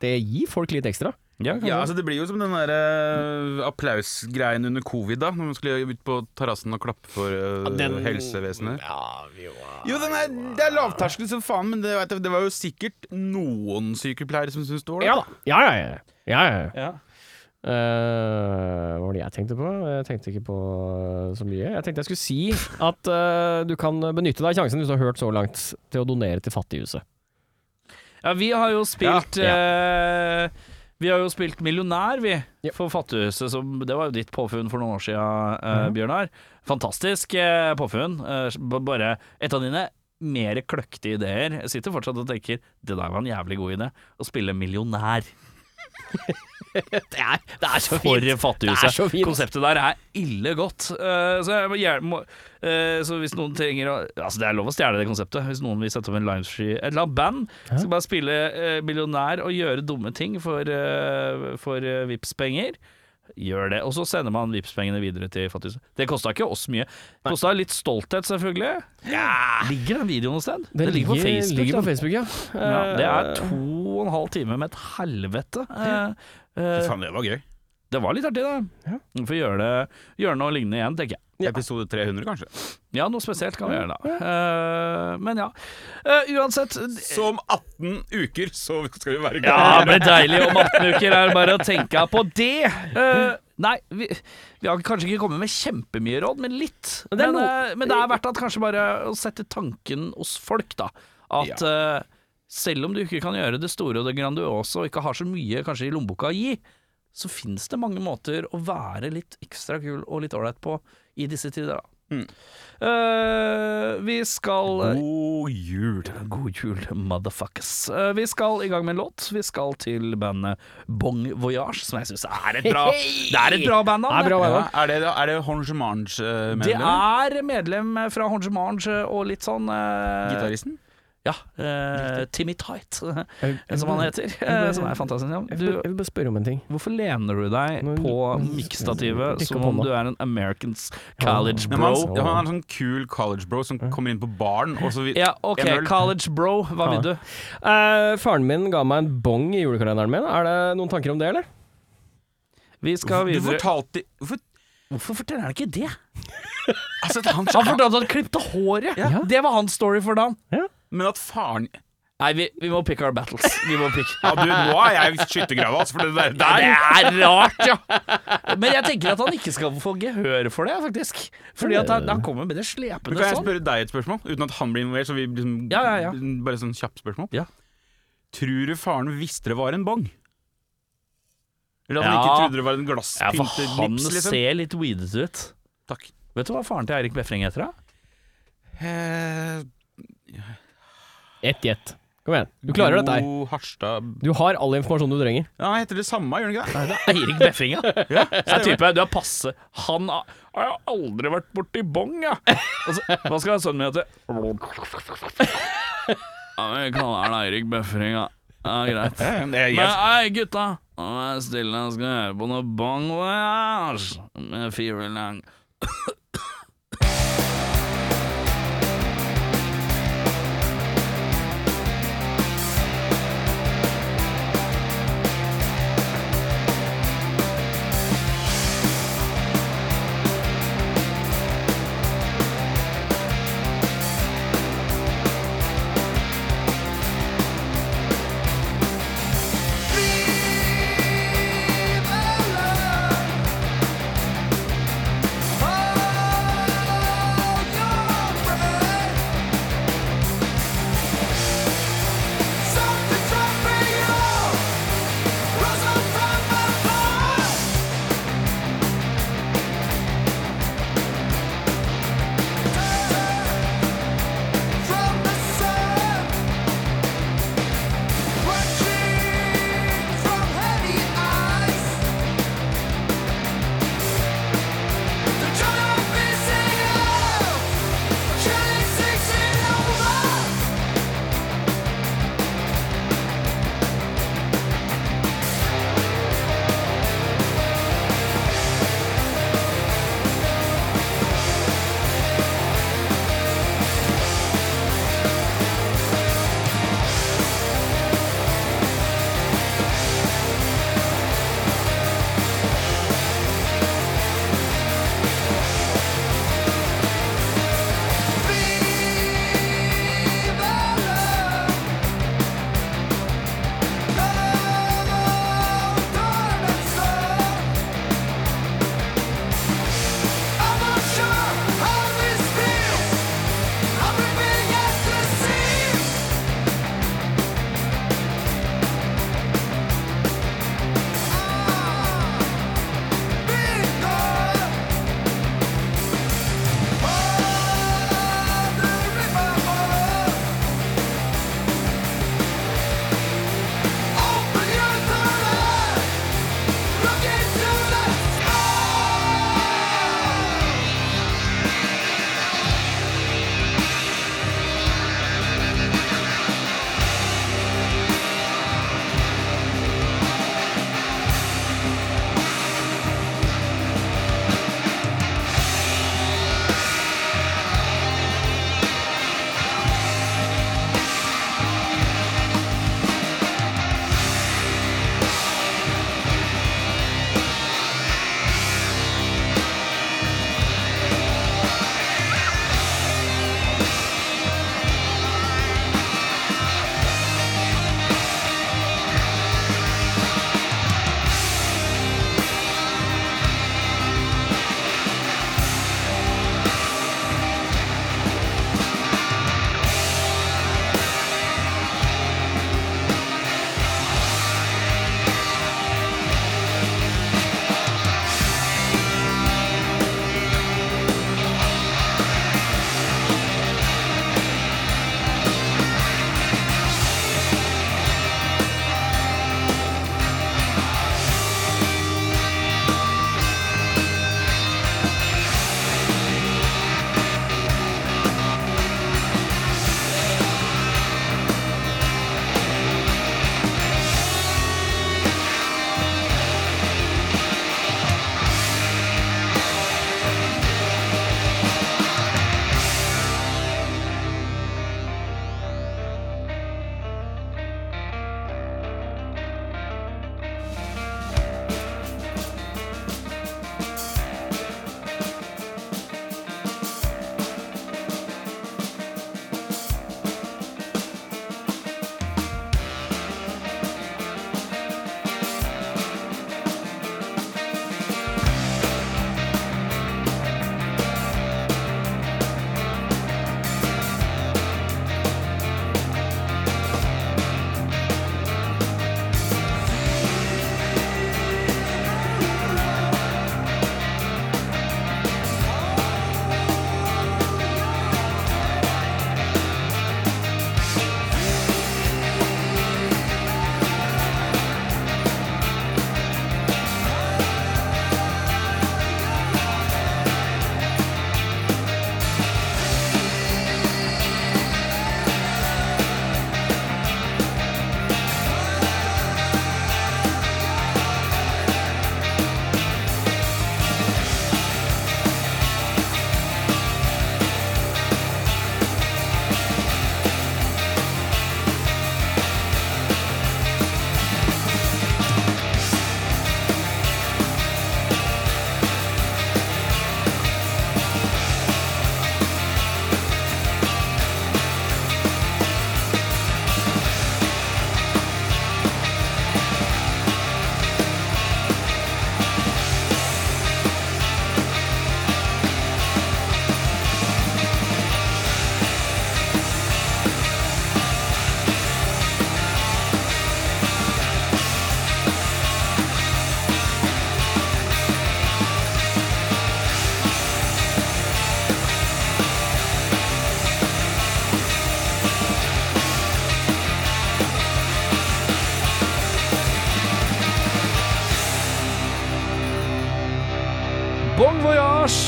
S2: Det gir folk litt ekstra.
S1: Ja, kanskje.
S3: Ja, altså Det blir jo som den der eh, applausgreien under covid, da. Når man skulle ut på terrassen og klappe for eh, helsevesenet. Jo, den er, det er lavterskel som faen, men det, vet jeg, det var jo sikkert noen sykepleiere som syntes det var ålreit.
S2: Ja da. Ja, ja, ja. ja, ja, ja.
S1: ja.
S2: Eh, hva var det jeg tenkte på? Jeg tenkte ikke på eh, så mye. Jeg tenkte jeg skulle si at eh, du kan benytte deg av sjansen hvis du har hørt så langt, til å donere til Fattighuset.
S1: ja, vi har jo spilt
S2: Ja,
S1: eh, Vi har jo spilt Millionær, vi,
S2: Ja.
S1: for Fattighuset. Som, det var jo ditt påfunn for noen år siden, eh,
S2: Mhm.
S1: Bjørnar. Fantastisk eh, påfunn. Eh, b- bare et av dine mer kløktige ideer. Jeg sitter fortsatt og tenker det der var en jævlig god idé. Å spille millionær.
S2: Det er, så
S1: For fattighuset.
S2: Det er så fint.
S1: Konseptet der er ille godt. Eh, så, jeg må, gjerne- må, eh, så hvis noen trenger å Altså, det er lov å stjele det konseptet. Hvis noen vil sette opp en limestree Et eller annet band skal bare spille eh, millionær og gjøre dumme ting for, uh, for eh, Vipps-penger. Gjør det. Og så sender man Vipps-pengene videre til fattighuset. Det kosta ikke oss mye. Det kosta litt stolthet, selvfølgelig. Ligger den videoen noe sted?
S2: Det ligger,
S1: på Facebook.
S2: ligger
S1: da.
S2: på Facebook, ja.
S1: ja, det er
S2: Eh,
S1: to og en halv time med et helvete. Eh, eh,
S3: Faen, det var gøy.
S1: det var litt artig, da.
S2: Ja.
S1: Vi får gjøre, det, gjøre noe lignende igjen, tenker jeg.
S3: Episode 300, kanskje.
S1: Ja, noe spesielt kan vi gjøre, da. Eh, men ja. Eh, uansett
S3: Så om 18 uker så skal vi være
S1: Ja,
S3: glade.
S1: det blir deilig om 18 uker, er det bare å tenke på det. Eh, nei, vi, vi har kanskje ikke kommet med kjempemye råd, men litt.
S2: Men det
S1: Men,
S2: er noe-
S1: eh, men det er verdt at kanskje bare å sette tanken hos folk, da. At eh, selv om du ikke kan gjøre det store og det grandiose, og ikke har så mye kanskje i lommeboka å gi, så fins det mange måter å være litt ekstra kul og litt ålreit på i disse tider, da. Eh, vi skal
S3: God jul.
S1: God jul, motherfuckers. Eh, Vi skal i gang med en låt. Vi skal til bandet Bong Voyage, som jeg syns er et bra Det er et bra band,
S2: Det er
S1: da.
S2: bra,
S3: Ja,
S2: det.
S3: er det, er det Hongemange-medlemmer?
S1: Det er medlem fra Honje Marge og litt sånn eh,
S3: Gitaristen?
S1: Ja. eh, Timmy Tight, eh,
S2: Jeg vil-
S1: som han heter. eh, Som er fantastisk navn.
S2: Jeg vil,
S1: Du,
S2: jeg vil bare spørre om en ting.
S1: hvorfor lener du deg
S2: Nå-
S1: på
S2: nå-
S1: mikkstativet
S2: Rykk
S1: som
S2: opp
S1: om
S2: hånda.
S1: du er en Americans college
S3: Nei, men
S1: bro?
S3: han, ja, han er en sånn kul college bro som kommer inn på baren, og så vi-
S1: Ja, OK,
S3: en øl.
S1: college bro, hva vil du?
S2: Eh, faren min ga meg en bong i julekalenderen min. Er det noen tanker om det, eller?
S1: Vi skal
S3: Du
S1: videre.
S3: fortalte Hvorfor
S1: Hvorfor forteller han ikke det?
S3: Altså, han,
S1: Han fortalte at han klippte håret.
S2: Ja.
S1: Det var hans story for dagen.
S3: Men at faren
S1: Nei, vi, vi må pick our battles. Vi må pick.
S3: Ja, du, nå er jeg i skyttergrava, altså, for det der, der
S1: Ja, det er rart, ja! Men jeg tenker at han ikke skal få gehør for det, faktisk. Fordi at han, han kommer med det
S3: Men
S1: slepende
S3: Kan jeg
S1: sånn.
S3: spørre deg et spørsmål, uten at han blir involvert? Så vi liksom,
S1: Ja, ja, ja.
S3: Bare sånn kjapt spørsmål.
S1: Ja.
S3: Tror du faren visste det var en bong? Eller at han
S1: Ja.
S3: ikke trodde det var en
S1: Ja, for
S3: glasspyntet
S1: han
S3: nips? Liksom?
S1: ser litt weedete ut.
S3: Takk.
S1: Vet du hva faren til Eirik Befring heter, da?
S3: Eh,
S2: Ett gjett. Kom igjen. Du klarer dette her.
S3: Gro Harstad
S2: Du har all informasjon du trenger.
S3: Ja, Han heter det samme, gjør han ikke det?
S1: Det er Eirik Befring, ja.
S3: Ja,
S1: Det er type, du er passe. Han har har jeg aldri vært borti bong, ja. Og så, hva skal sønnen min hete? Ja, men vi kaller han Eirik Befring, ja. Ja, greit.
S3: Ja, ja, det er-
S1: Men hei, gutta! Nå må jeg stille, jeg skal høre på noe Bang Voyage med Fever Lang.
S4: Viva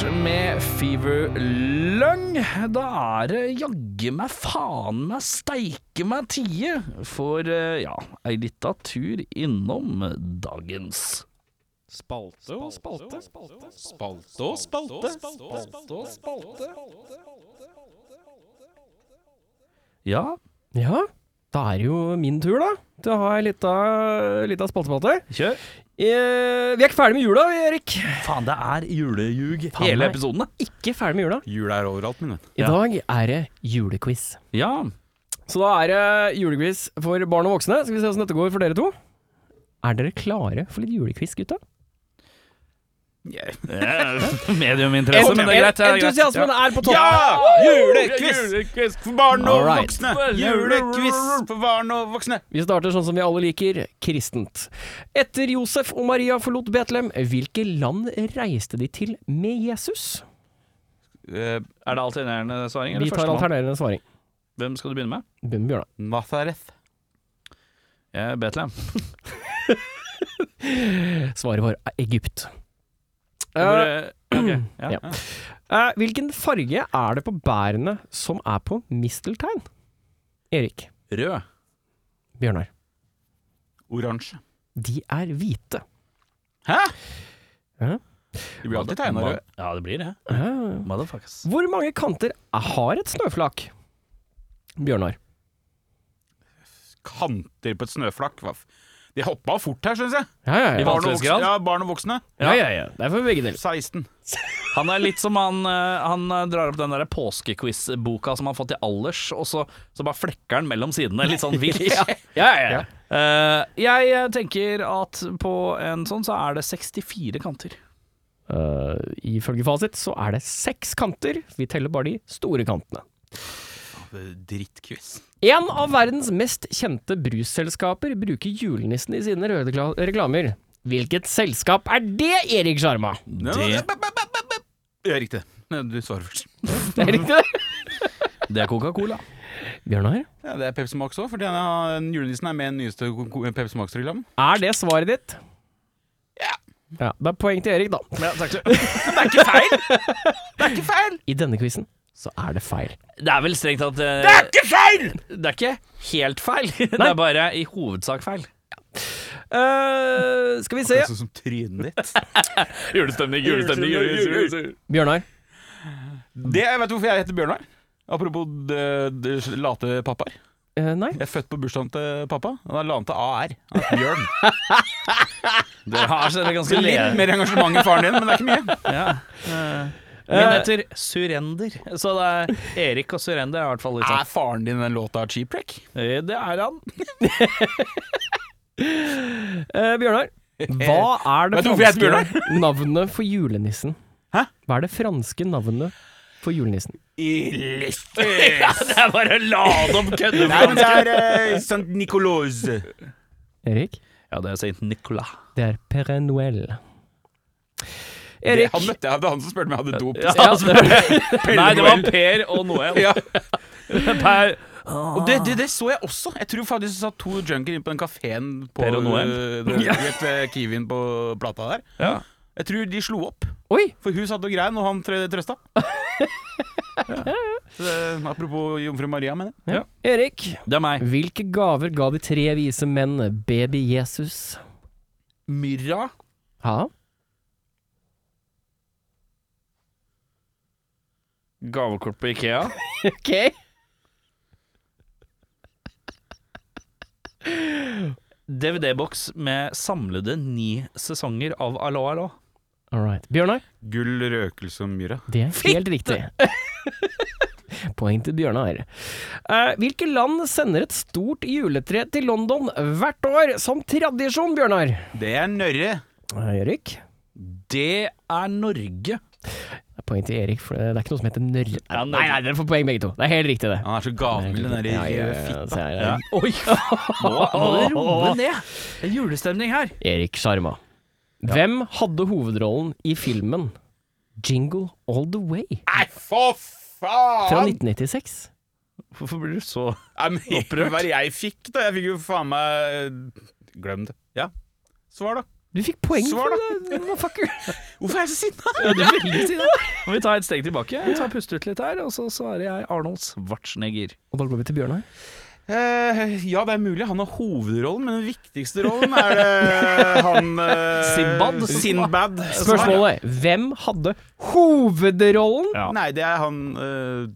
S1: River Lung. Da er det jaggu meg faen meg steike meg tie for eh, ja, ei lita tur innom dagens
S2: Spalte og spalte. spalte.
S3: Spalte og spalte.
S1: Ja,
S2: Ja, da er det jo min tur, da. Til å ha ei lita, lita spaltespalte.
S1: kjør.
S2: Eh, vi er ikke ferdig med jula, vi, Erik.
S1: Faen, det er juleljug
S2: Faen
S1: hele
S2: meg.
S1: episoden, da.
S2: Ikke ferdig med jula.
S3: Jula er overalt, min venn.
S2: I
S1: Ja.
S2: dag er det julequiz.
S1: Ja.
S2: Så da er det julequiz for barn og voksne. Skal vi se åssen dette går for dere to. Er dere klare for litt julequiz, gutta?
S1: Mediuminteresse, Eh, men det er greit. det er greit.
S2: Entusiasmen er på topp.
S3: Ja! Julequiz
S1: Julequiz!
S3: for barn og
S2: Alright.
S3: voksne! Julequiz for barn og voksne!
S2: Vi starter sånn som vi alle liker, kristent. Etter Josef og Maria forlot Betlehem, hvilke land reiste de til med Jesus?
S3: Eh,
S1: Er det alternerende svaring?
S2: Vi
S1: Eller
S2: tar
S1: førstemann?
S2: alternerende svaring.
S1: Hvem skal du begynne med?
S2: Bjørn Bjørnar.
S3: Nazareth.
S1: Eh, Betlehem.
S2: Svaret var Egypt.
S1: Hvor,
S2: Eh,
S1: eh, ok, ja.
S2: ja. eh, hvilken farge er det på bærene som er på misteltein? Erik.
S1: Rød.
S2: Bjørnar.
S3: Oransje.
S2: De er hvite.
S3: Hæ?
S2: Hæ?
S3: De blir alltid tegna røde.
S1: Ja, det blir det.
S2: Eh,
S1: Motherfuckers.
S2: Hvor mange kanter har et snøflak? Bjørnar.
S3: Kanter på et snøflak. Hva f- De hoppa fort her, syns jeg.
S2: Ja, ja,
S1: I
S2: ja.
S3: Barn og, voksne.
S1: vanskelighetsgrad?
S3: Ja, barn og voksne.
S2: ja, ja, ja. Det er for begge deler.
S3: 16.
S1: Han er litt som han eh, Han eh, drar opp den der påskequiz-boka som han har fått i alders, og så, så bare flekker han mellom sidene, litt sånn vilt.
S2: Ja, ja, ja.
S1: Eh, jeg eh, tenker at på en sånn så er det 64 kanter.
S2: Uh, ifølge fasit så er det seks kanter. Vi teller bare de store kantene.
S3: Drittquiz.
S2: En av verdens mest kjente brusselskaper bruker julenissen i sine røde kla- reklamer. Hvilket selskap er det, Erik Sjarma?
S1: Det-
S3: Ja, riktig. Nei, Du svarer først.
S2: Det er riktig, det.
S1: Det er Coca-Cola.
S2: Bjørnar?
S3: Ja, det er Pepsi Max òg, for den har- den julenissen er med i den nyeste ko- ko- Pepsi Max-reklamen.
S2: Er det svaret ditt?
S3: Ja.
S2: Ja, Det er poeng til Erik, da.
S1: Ja, takk skal du
S2: I denne quizen så er det feil.
S1: Det er vel strengt tatt eh,
S3: Ikke feil!
S1: Det er ikke helt feil. Det er bare i hovedsak feil.
S2: eh skal vi se.
S3: Det er sånn som trynet ditt.
S1: Julestemning,
S3: julestemning, julestemning, julestemning.
S2: Bjørnar.
S3: Det, jeg vet du hvorfor jeg heter Bjørnar? Apropos de, de, late pappaer.
S2: Eh, nei.
S3: Jeg er født på bursdagen til pappa. og Da la han til AR. Han heter Bjørn.
S1: Dere har sett det
S3: Det
S1: ganske
S3: er
S1: lenge.
S3: litt mer engasjement enn faren din, men det er ikke mye.
S1: Ja. Min heter Surrender, Eh, så det er Erik og Surrender er i hvert fall litt sånn.
S3: Er faren din den låta cheap track?
S1: Eh, Det er han.
S2: Eh, Bjørnar. Hva er det
S3: Vet du hvorfor jeg heter
S2: franske navnet for julenissen?
S3: Hæ?
S2: Hva er det franske navnet for julenissen?
S3: Illustre!
S1: Det er bare lad om kødde.
S3: Nei, men det er eh, St. Nicolas.
S2: Erik?
S1: Ja, det er Saint Nicolas.
S2: Det er Père Noël.
S3: Det,
S2: Erik.
S3: han møtte jeg, det var han som spurte om jeg hadde dop.
S1: Ja, altså, nei, det var Per og Noel.
S3: Ja.
S1: Per,
S3: Og det, det, det så jeg også. Jeg tror faktisk det satt to junkier inne på den kafeen på
S1: Per og Noel.
S3: eh, den- rett ved Kiwien på plata der.
S1: ja.
S3: Jeg tror de slo opp,
S2: Oi!
S3: for hun satt og grein, og han trø- trøsta. Så, eh, apropos jomfru Maria, mener jeg.
S2: Erik.
S1: Det er meg.
S2: Hvilke gaver ga de tre vise menn baby Jesus?
S1: Myrra.
S2: Hæ?
S1: Gavekort på Ikea.
S2: Ok.
S1: DVD-boks med samlede ni sesonger av Allo Allo.
S2: All right. Bjørnar.
S3: Gull, røkelse og myra.
S2: Det er helt riktig. Poeng til Bjørnar. Eh, hvilke land sender et stort juletre til London hvert år som tradisjon, Bjørnar?
S3: Det er Nørre.
S2: Eh, Erik.
S1: Det er Norge.
S2: Det er Poeng til Erik, for det er ikke noe som heter nørr...
S1: Ja, Norge.
S2: Nei, nei, dere får poeng begge to. Det er helt riktig, det.
S3: Han er så gavmild, den der
S2: Ja, ja,
S3: røde
S2: ja,
S3: fitta.
S2: så er det-
S1: Oi, nå må du roe ned. Det er julestemning her.
S2: Erik Sjarma. Hvem hadde hovedrollen i filmen Jingle All The Way
S3: Nei, for
S2: fra
S3: faen!
S2: 1996?
S1: Hvorfor blir du så
S3: Nei, men eh, Hva var det jeg fikk, da? Jeg fikk jo faen meg Glem det. Ja. Svar, da.
S2: Du fikk poeng
S3: Svar,
S2: for det, motherfucker.
S3: Hvorfor er jeg så sinna?
S1: Ja, du er veldig sinna. Må vi ta et steg tilbake? Jeg tar puste ut litt her, og så svarer jeg Arnold Schwarzenegger.
S2: Og da går vi til Bjørnar.
S3: Eh, ja, det er mulig han har hovedrollen, men den viktigste rollen er det han eh,
S1: Sinbad?
S3: Sinbad.
S2: Spørsmålet er hvem hadde hovedrollen?
S1: Ja.
S3: Nei, det er han eh,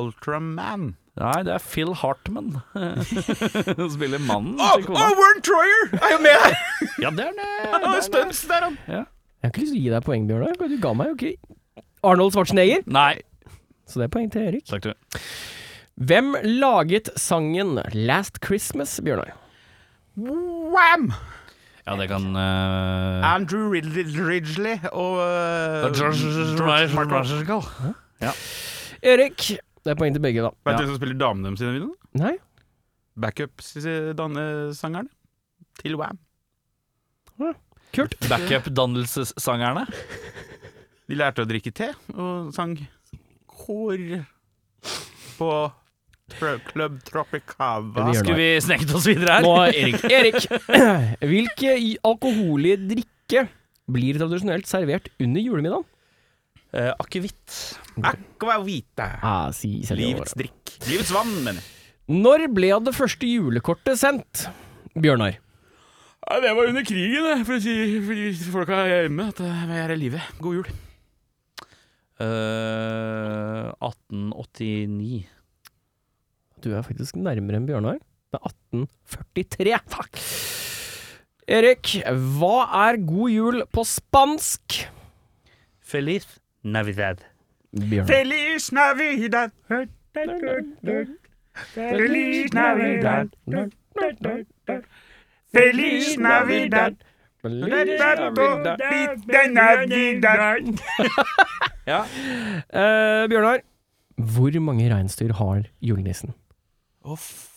S3: Ultraman.
S1: Nei, det er Phil Hartman. Som spiller mannen
S3: Å,
S1: til kona.
S3: Warren Troyer er jo med her!
S1: Ja, det er det!
S3: Han har jo
S1: det er det.
S3: stunts der, han.
S2: Jeg har ikke lyst til å gi deg poeng, Bjørnar. Du ga meg jo ikke Arnold Schwarzenegger,
S1: Nei.
S2: så det er poeng til Erik.
S1: Takk, du.
S2: Hvem laget sangen Last Christmas, Bjørnar?
S3: Wham!
S1: Ja, det kan eh,
S3: Andrew Ridley, Ridgely og eh, George Michael.
S2: Erik. Det er poeng til begge, da.
S3: Vet du hvem som spiller damene deres i den videoen?
S2: Nei?
S3: Backup-sangeren eh, til Wham.
S2: Kult.
S1: Backup-dannelsessangerne.
S3: De lærte å drikke te og sang kor på Tro- Club Tropicava.
S2: Det gjør
S1: Skulle vi sneket oss videre her?
S2: Nå, Erik. Erik. Hvilke i- alkoholige drikke blir tradisjonelt servert under julemiddagen?
S1: Eh, Akevitt.
S3: Aqua vita.
S2: Ah, si selv i år.
S3: Livets drikk. Livets vann, mener jeg.
S2: Når ble det første julekortet sendt? Bjørnar.
S3: det var under krigen, det, for å si for de folka her hjemme at jeg er i live. God jul.
S1: Eh, 1889.
S2: Du er faktisk nærmere enn Bjørnar. Det er 1843. Takk. Erik, hva er god jul på spansk?
S1: Feliz Navidad.
S2: Bjørnar.
S3: Feliz Navidad. Feliz Navidad. Feliz Navidad.
S2: Eh, Bjørnar, hvor mange reinsdyr har julenissen?
S3: Og f-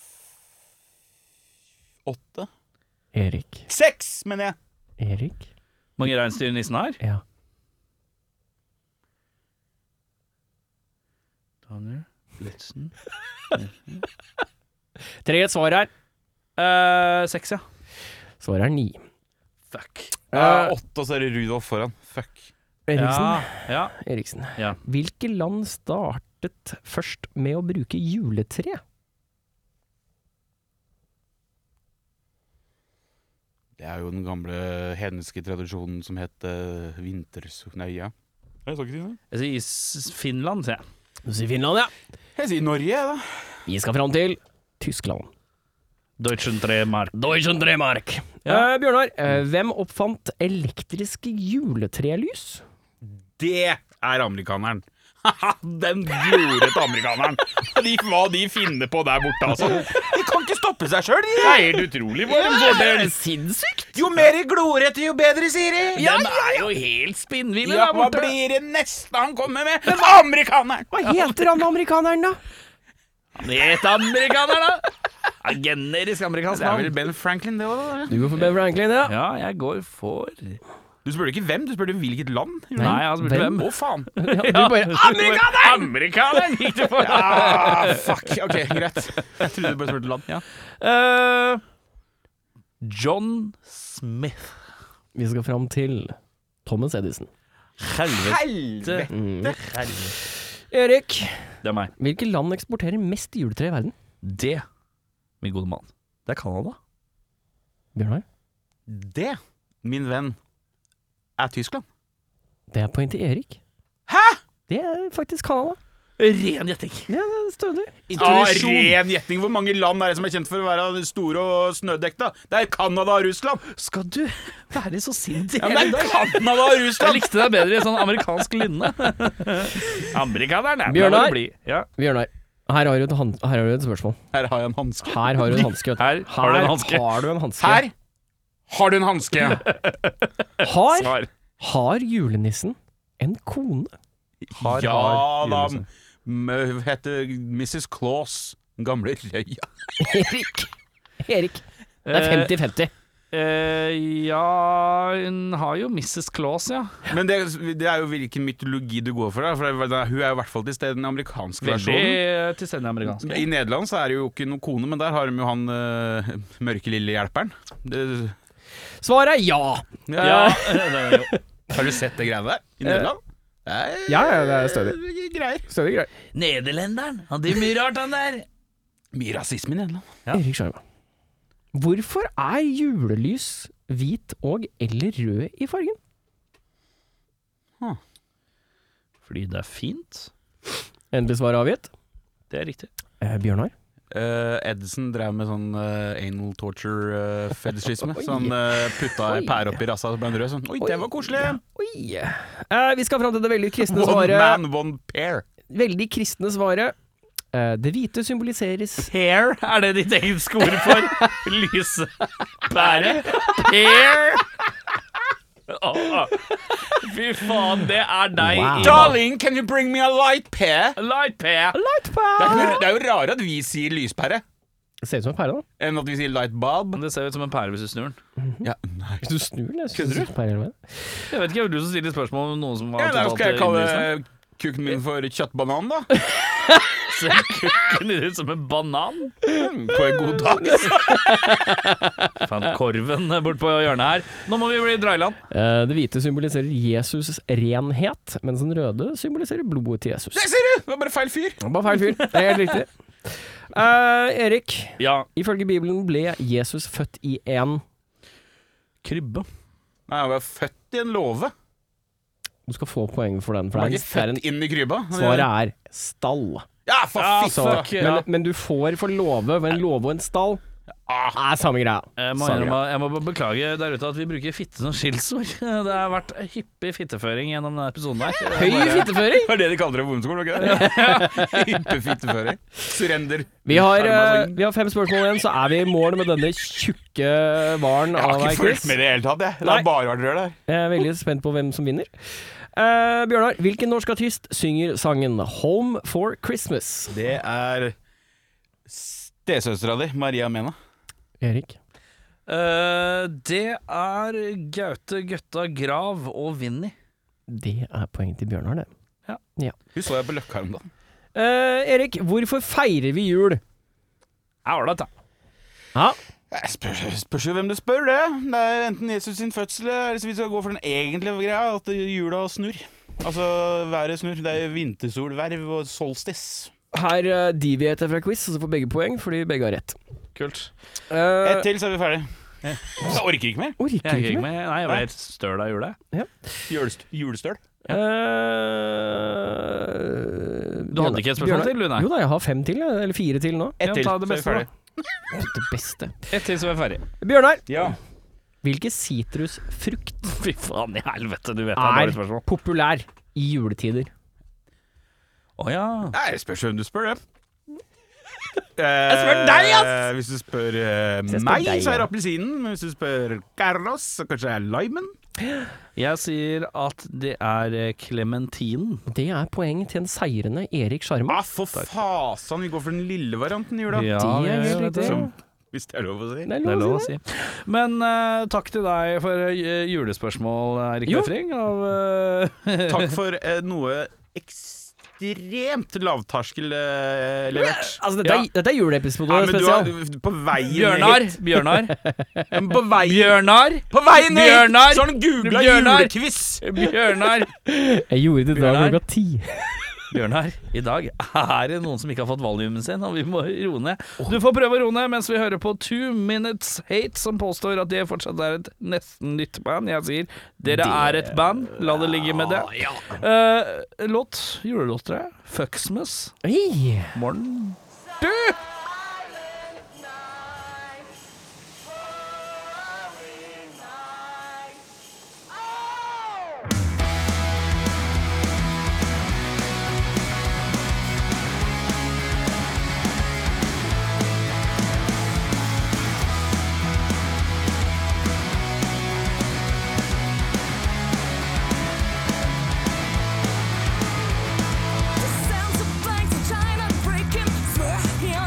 S3: Åtte?
S2: Erik.
S3: Seks, mener jeg.
S2: Erik?
S1: Mange reinsdyr nissen har?
S2: Ja.
S1: Daniel Blitzen.
S2: Tre svar her.
S1: Eh, seks, ja.
S2: Svaret er ni.
S1: Fuck.
S3: Ja, åtte, og så er det Rudolf foran. Fuck.
S2: Eriksen.
S1: Ja,
S2: Eriksen.
S1: Ja.
S2: Hvilke land startet først med å bruke juletre?
S3: Det er jo den gamle hedenske tradisjonen som het uh, vintersnøya. Jeg skal ikke si det.
S1: Jeg sier s- Finland, sier jeg.
S2: Du sier Finland, ja.
S3: Jeg sier Norge, jeg, da.
S2: Vi skal fram til Tyskland.
S1: Deutschen Tremark.
S2: Deutschen Dremark.
S1: Ja.
S2: Eh, Bjørnar, eh, hvem oppfant elektriske juletrelys?
S3: Det er amerikaneren. Haha, den gjorde til amerikaneren. De, hva de finner på der borte, altså. De kan ikke stoppe seg sjøl, de. Det er helt utrolig hva de får til.
S2: Sinnssykt!
S3: Jo mer glorete, jo bedre, sier de. Ja,
S1: Den er jo helt spinnvill
S3: ja,
S1: der
S3: hva
S1: borte!
S3: blir det neste han kommer med? Amerikaneren!
S2: Hva heter han amerikaneren, da?
S1: Het amerikaner, da! Ja, Generisk amerikansk
S3: Det er vel
S1: navn.
S3: Ben Franklin, det òg.
S2: Du går for Ben Franklin, ja.
S1: Ja, jeg går for
S3: Du spurte ikke hvem, du spurte hvilket land.
S1: Nei, jeg spurte
S2: hvem?
S1: hvem.
S3: Å, faen.
S2: altså, ja du bare Ah!
S1: Amerikaneren! Amerikaneren gikk du for!
S3: Ah, fuck. Ok, greit. Jeg trodde du bare spurte land. Ja.
S1: Eh, John Smith.
S2: Vi skal fram til Thomas Edison.
S1: Helvete.
S3: Helvete.
S2: Mm. Erik,
S1: Det er meg.
S2: hvilke land eksporterer mest juletre i verden?
S1: Det, min gode mann, det er Canada.
S2: Bjørnar?
S3: Det, min venn, er Tyskland.
S2: Det er poeng til Erik. Hæ?! Det er faktisk Canada.
S1: Ren gjetting.
S2: Ja, det stødig.
S3: Ah, ren gjetning. Hvor mange land er det som er kjent for å være store og snødekta? Det er Canada og Russland.
S1: Skal du være så sint i
S3: Ja, men det er Canada og
S1: Jeg
S3: Russland!
S1: likte deg bedre i sånn amerikansk lynne. Amerikaneren er
S2: Bjørnar?
S1: det bli. Ja.
S2: Bjørnar, her har du et, han her har du et spørsmål.
S3: Her har jeg en hanske.
S2: Her har du en hanske.
S1: Her har du en hanske.
S2: Har du en hanske.
S3: Her har du en hanske.
S2: Har,
S1: Svar.
S2: har julenissen en kone?
S1: Har,
S3: ja
S1: har,
S3: da.
S1: julenissen.
S3: M- Heter Mrs. Claus. Den gamle røya.
S2: Erik. Erik. Det er 50-50.
S1: Eh, ja Hun har jo Mrs. Claus, ja.
S3: Men det, det er jo hvilken mytologi du går for. Da, for det er- hun er jo i hvert fall til stede i den amerikanske
S1: Veldig
S3: versjonen.
S1: eh, tilstendig amerikansk.
S3: I eh, Nederland så er det jo ikke noen kone, men der har de jo han uh, mørke lille hjelperen. Det,
S2: Svaret er ja. Eh.
S1: Ja,
S3: Ja. Har du sett det greiene der? I Nederland? Nei,
S2: Ja, ja, det er stødig.
S3: Greier.
S2: Stødig greier.
S1: Nederlenderen. Han driver mye rart, han der.
S3: Mye rasisme i Nederland.
S2: Erik Sjarma. Hvorfor er julelys hvit og eller rød i fargen?
S1: Fordi det er fint.
S2: Endelig svar avgitt.
S1: Det er riktig.
S2: Eh, Bjørnar?
S3: Eh, Edison drev med sånn eh, anal torture uh, fetishisme.
S2: Oi.
S3: så han eh, putta ei
S2: Oi.
S3: pære opp i rassa og ble en rød. Sånn. Oi, det var koselig!
S2: Oi. Eh, vi skal fram til det veldig kristne
S3: One
S2: svaret.
S3: man, one pair.
S2: Veldig kristne svaret. Eh, det hvite symboliseres
S1: Pear er det ditt engelske ord for lyse bære. Pear. Åh. Fy faen, det er deg.
S2: Wow.
S1: Ivan.
S3: Darling, can you bring me a light pear?
S1: Light pear.
S3: Det er,
S2: Ah.
S3: ikke- det er jo rarere at vi sier lyspære
S2: Ser ut som en pære, da.
S3: enn at vi sier light bulb.
S1: Det ser ut som en pære hvis du snur den.
S3: Ja, nei.
S2: Hvis du snur den, jeg synes det er pære, eller hva?
S1: Jeg vet ikke, jeg har lyst til å stille et spørsmål om noen som var
S3: Ja, da
S1: totalt
S3: skal jeg kalle
S1: innlysende.
S2: liksom.
S3: kukken min for kjøttbanan, da.
S1: Ser kukken din ut som en banan?
S3: På en god dag.
S1: Faen, korven bort på hjørnet her. Nå må vi bli Dreiland.
S2: Eh, det hvite symboliserer Jesus' renhet, mens den røde symboliserer blodet til Jesus.
S3: Der ser du! Det var bare feil fyr.
S2: Det var feil fyr. Det er helt riktig. Eh, Erik,
S1: Ja.
S2: ifølge Bibelen ble Jesus født i en
S1: Krybbe.
S3: Nei, han var født i en låve.
S2: Du skal få poeng for den, for
S3: Han var
S2: det
S3: ikke
S2: er en,
S3: født
S2: det er en
S3: inn i krybba.
S2: Svaret er stall.
S3: Ja, for
S1: Ja,
S3: fitte!
S1: fuck, ja.
S2: Men, men du får for låve, for en låve og en stall er samme greia.
S1: Jeg Eh, må,
S2: Samme
S1: innrømme- jeg må bare beklage der ute at vi bruker fitte som skillsord. Det har vært hyppig fitteføring gjennom denne episoden her. Det er
S2: greia.
S1: bare-
S2: Høy fitteføring!
S3: Det var det de kaller det på ungdomsskolen, var ikke det? Hyppefitteføring. Surrender.
S2: Vi har,
S1: sånn-
S2: eh,
S3: Hermansson.
S2: vi har fem spørsmål igjen, så er vi i mål med denne tjukke varen
S3: Jeg
S2: av
S3: har
S2: ei
S3: ikke
S2: quiz.
S3: fulgt med i det hele tatt, jeg. Det
S2: Nei.
S3: har bare vært rør der.
S2: Jeg er veldig spent på hvem som vinner. Eh, Bjørnar, hvilken norsk artist synger sangen 'Home for Christmas'?
S3: Det er stesøstera di, Maria Mena.
S2: Erik?
S1: Eh, det er Gaute Gøtta Grav og Vinni.
S2: Det er poeng til Bjørnar, det.
S3: Hun så jeg på Løkka her om dagen.
S2: Eh, Erik, hvorfor feirer vi jul?
S1: Ålreit, da.
S2: Ja.
S3: Jeg Spør, spørs jo hvem du spør, det. Det er enten Jesus sin fødsel, eller så vi skal gå for den egentlige greia, at jula snur. Altså, været snur. Det er vintersol, verv og solstice.
S2: Her uh, devieter jeg fra quiz, og så får begge poeng fordi begge har rett.
S1: Kult.
S2: Uh,
S3: Ett til, så er vi ferdig. Jeg orker ikke mer.
S2: orker
S1: Jeg gikk
S2: ikke
S1: ikke
S2: mer.
S1: med. Nei, jeg ble helt støl av jula.
S3: Julest, julestøl.
S2: Eh,
S1: Du hadde
S2: Bjørnar-
S1: ikke et
S2: Bjørnar-
S1: spørsmål til, du, nei?
S2: Jo da, jeg har fem til, jeg, eller fire til nå.
S1: Ja,
S3: Ett til,
S1: ta
S3: så er vi
S1: det beste, da.
S3: ferdig.
S2: Det beste.
S1: Ett til, så er vi ferdig.
S2: Bjørnar,
S3: Ja.
S2: hvilken sitrusfrukt
S1: Fy faen i helvete, du vet det er
S2: er
S1: dårlig spørsmål.
S2: populær i juletider?
S1: Å ja.
S3: Nei, det spørs hvem du spør, det. Eh,
S2: Jeg spør deg, ass!
S3: Hvis du spør, eh,
S2: Så jeg spør
S3: meg,
S2: deg,
S3: så er det
S2: ja.
S3: appelsinen. Men hvis du spør Carlos, så kanskje det er limen.
S1: Jeg sier at det er eh, klementinen.
S2: Det er poeng til en seirende Erik Sjarma.
S3: Ah, for fasan, vi går for den lille varianten i jula.
S2: det er helt riktig.
S3: Som, hvis det er lov å si.
S2: Det er
S1: Det er
S2: lov å si det.
S1: si. Men eh, takk til deg for eh, julespørsmål, Erik
S2: Jo.
S1: Befring. Av eh,
S3: Takk for eh, noe ekstremt lavterskel eh, levert.
S2: Altså, dette,
S1: Ja.
S2: er, dette er juleepisode
S3: Ja, men du har,
S2: spesial.
S3: på veien
S1: Bjørnar.
S3: hit
S1: Bjørnar.
S3: Ja, men På veien,
S1: Bjørnar.
S3: på veien hit
S1: Bjørnar.
S3: så har han googla
S1: Bjørnar.
S3: julequiz!
S1: Bjørnar.
S2: Jeg gjorde det i dag
S1: Bjørnar.
S2: klokka ti.
S1: Bjørnar, i dag er det noen som ikke har fått valiumen sin, og vi må roe ned. Du får prøve å roe ned mens vi hører på Two Minutes Hate, som påstår at det fortsatt er et nesten nytt band. Jeg sier dere er et band, la det ligge med det. Eh, låt, julelåt, tror jeg. Fucksmas.
S2: Oi.
S1: Morgen.
S4: The sounds of bangs in China breaking through. Hear us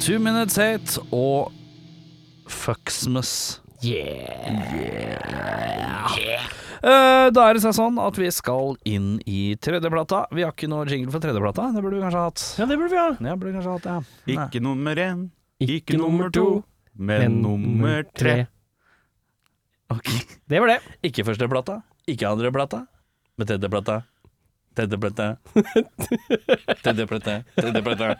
S1: Two Minutes Hate og Fucksmus. Eh, Da er det seg sånn at vi skal inn i tredjeplata. Vi har ikke noe jingle for tredjeplata. Det burde vi kanskje hatt.
S2: Ja, det burde vi ha.
S1: Ja, burde vi kanskje hatt, ja. Nei.
S3: Ikke nummer én, ikke nummer to, men nummer tre.
S1: Ok.
S2: Det var det.
S1: Ikke førsteplata, ikke andreplata, men tredjeplata. Tredjeplata. Tredjeplata. Tredjeplata.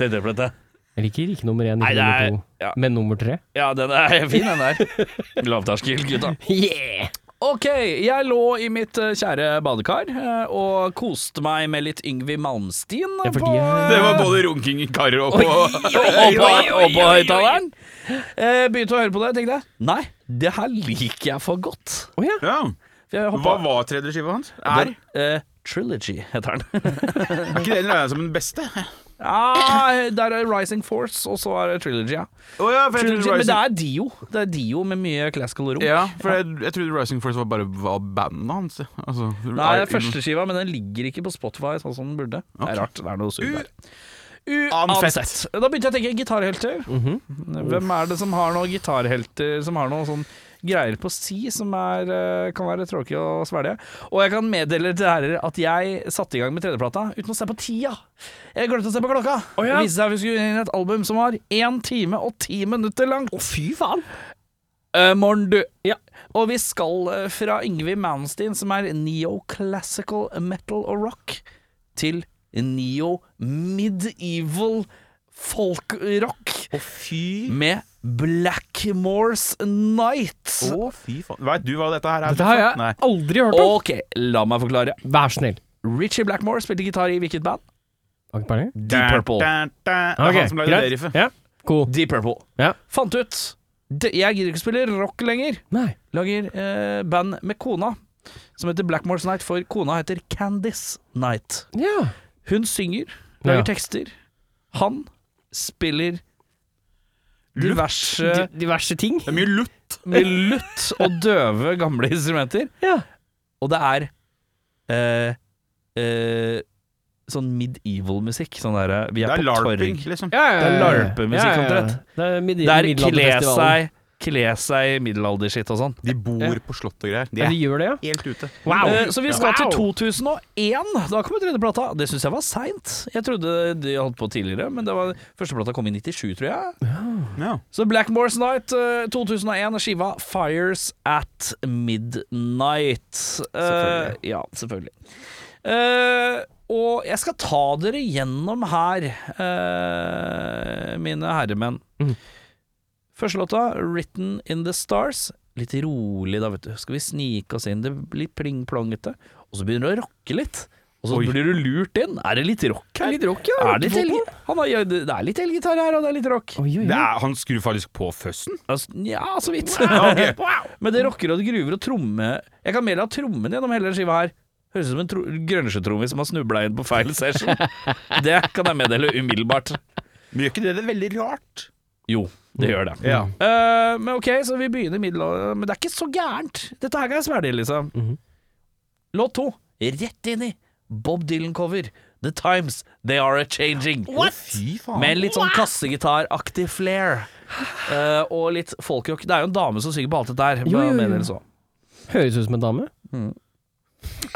S1: Tredjeplata.
S2: Jeg liker ikke nummer én,
S1: Nei,
S2: ikke
S1: det er-
S2: nummer to,
S1: ja.
S2: men nummer tre.
S1: Ja, den er fin, den der. Lavterskel, gutta.
S2: Yeah!
S1: Ok, jeg lå i mitt eh, kjære badekar eh, og koste meg med litt Yngvi Malmsteen. eh,
S2: Ja, for
S1: på,
S2: de er-
S3: Det var både runking i karer og på
S1: og på, og på høyttaleren. Eh, Begynte å høre på det, tenkte jeg. Nei, det her liker jeg for godt.
S2: Å ja.
S3: ja.
S1: For jeg
S3: Hva
S1: hoppa-
S3: var tredje skiva hans? Er,
S1: Den, eh, Trilogy heter den.
S3: er ikke den regna som den beste?
S1: ah, der er Rising Force, og så er det Trilogy, ja.
S3: Å ja, for jeg
S1: Trilogy,
S3: trodde
S1: men det
S3: Rising-
S1: er Dio. Det er Dio med mye classical rock.
S3: ja, for jeg, jeg trodde Rising Force var bare var bandet hans. Altså,
S1: Nei, det er førsteskiva, men den ligger ikke på Spotify sånn som den burde. Det
S3: Ok.
S1: er rart. Det er noe sur der.
S3: Uansett.
S1: Uansett. Da begynte jeg å tenke gitarhelter. Hvem er det som har noen gitarhelter som har noen sånn greier på si som er, eh, kan være tråkig å svelge? Og jeg kan meddele til dere at jeg satte i gang med tredjeplata uten å se på tida. Jeg glemte å se på klokka. Det viste seg at vi skulle inn i et album som var én time og ti minutter langt.
S2: Å, fy faen!
S1: Eh, morgen, du.
S2: Ja.
S1: Og vi skal eh, fra Yngvi Manstein, som er neoclassical metal og rock, til neo-medieval folkrock
S3: Å, fy
S1: med Blackmore's Night.
S3: Å, fy faen. Veit du hva dette her er?
S2: Dette har jeg
S3: Nei.
S2: aldri hørt om.
S1: Ok, la meg forklare.
S2: Vær snill.
S1: Richie Blackmore spilte gitar i hvilket band?
S2: Har ikke peiling.
S1: Deep Purple.
S3: Da, da, da. Det er han som lagde det riffet.
S2: Ja. Cool.
S1: Deep Purple.
S2: Ja.
S1: Fant ut "D- Jeg gidder ikke spille rock lenger.
S2: Nei.
S1: Lager eh, band med kona, som heter Blackmore's Night, for kona heter Candice Night.
S2: Ja.
S1: Hun synger, lager
S2: Ja.
S1: tekster. Han spiller diverse
S2: Di- Diverse ting.
S3: Det er mye lutt.
S1: med lutt og døve gamle instrumenter.
S2: Ja.
S1: Og det er eh, eh, sånn medieval-musikk. Sånn derre Vi
S3: Det
S1: er,
S3: er
S1: på
S3: larping,
S1: torg.
S3: liksom.
S2: Ja, ja,
S1: Det er
S2: ja, ja.
S1: larpemusikk, omtrent.
S2: Det er mid-
S1: Der kle
S2: middelalderfestivalen.
S1: seg Kle seg i middelalderskitt og sånn.
S3: De bor på slott og greier. De er
S2: Ja, de gjør det, ja.
S3: helt ute.
S2: Wow.
S1: Eh, så vi skal
S2: Wow.
S1: til 2001. Da kom tredjeplata. Det syns jeg var seint. Jeg trodde de holdt på tidligere, men det var førsteplata kom i 97, tror jeg.
S3: Ja.
S1: Så Blackmore's Night eh, 2001 skiva Fires at Midnight. Eh,
S2: Selvfølgelig.
S1: ja, selvfølgelig. Eh, og jeg skal ta dere gjennom her, eh, mine herremenn.
S2: Mhm.
S1: Første låta, 'Written in the Stars'. Litt rolig, da, vet du. Skal vi snike oss inn? Det blir pling-plongete. Og så begynner det å rocke litt. Og så
S3: Oi.
S1: blir du lurt inn. Er det litt rock her?
S2: Litt rock, ja.
S1: Er det, litt elgi- Han har, det er litt elgitar her, og det er litt rock.
S2: Oi, oi,
S3: Det
S2: oi.
S3: er, han skrur faktisk på føssen.
S1: Altså, ja, så vidt.
S3: ok.
S1: Men det rocker og det gruver og tromme Jeg kan melde at trommen gjennom hele den skiva her Høres ut som en tro- grønsjetrommis som har snubla inn på feil session. Det kan jeg meddele umiddelbart.
S3: Men gjør ikke det det er veldig rart?
S1: Jo, det gjør det.
S3: Ja.
S1: Eh, men ok, så vi begynner middelalder Men det er ikke så gærent. Dette her kan jeg svelge, liksom.
S2: Mhm.
S1: Låt to, rett inn i Bob Dylan-cover. The Times They Are A Changing.
S3: Fy faen.
S1: Med litt sånn kassegitaraktig flair. Eh, og litt folkrock. Det er jo en dame som synger på alt dette her.
S2: Jo, jo, jo.
S1: mener det så.
S2: Høres ut som en dame.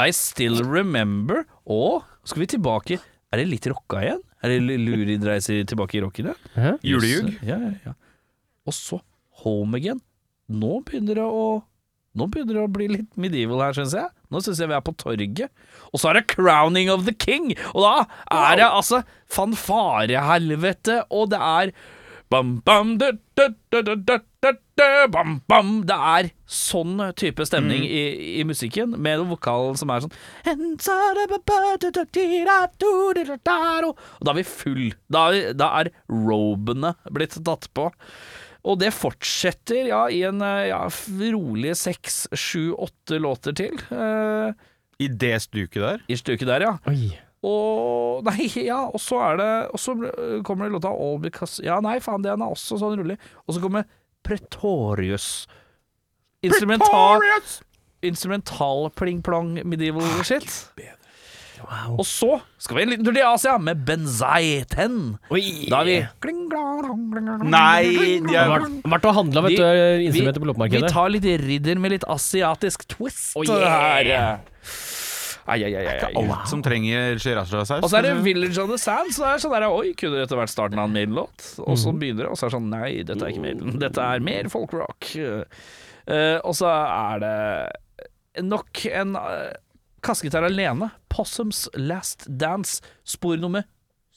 S1: I still remember Og skal vi tilbake Er det litt rocka igjen? Er det luri dreiser tilbake i rocken igjen?
S2: Hæ?
S3: Julejug?
S1: Jøss, Ja, ja, ja Og så Home Again Nå begynner det å Nå begynner det å bli litt medieval her, synes jeg Nå synes jeg vi er på torget Og så er det Crowning of the King Og da er det altså Fanfarehelvete Og det er Bam, bam, du, du, du, du, du, du, du, bam, bam. Det er sånn type stemning i, i musikken, med en vokal som er sånn And so da ba ba du du di da du di da da do. Og da er vi full. Da er, da er robene blitt tatt på. Og det fortsetter ja, i en eh, ja, f- rolig seks, sju, åtte låter til. eh,
S3: I det stuket der?
S1: I stykket der, ja.
S2: Oi.
S1: Og Nei, ja, og så er det Og så ble- kommer det låta All Because Ja, nei, faen, den er også sånn rolig. Og så kommer Pretorius. Instrumental, instrumental pling-plong medieval shit.
S2: Wow.
S1: Og så skal vi en liten tur til Asia med Benzai 10.
S2: Oi!
S1: Da har vi
S3: Nei, de er,
S2: Vært- Vært og handla, vet
S1: Vi-
S2: du,
S1: vi,
S2: instrumenter på
S1: vi
S2: loppemarkedet.
S1: tar litt ridder med litt asiatisk twist
S2: Oh, yeah.
S1: her. Ai, ai, ai, ai, ai.
S3: alt som trenger sriracha-saus.
S1: Og så er det Village of the Sands. Og det er sånn der, Oi, kunne dette vært starten av en Maiden-låt? Og
S2: Mm.
S1: så begynner det, og så er det sånn Nei, dette er ikke Maiden. Dette er mer folkrock. Eh, og så er det nok en eh, kassegitar alene. Possums Last Dance, spor nummer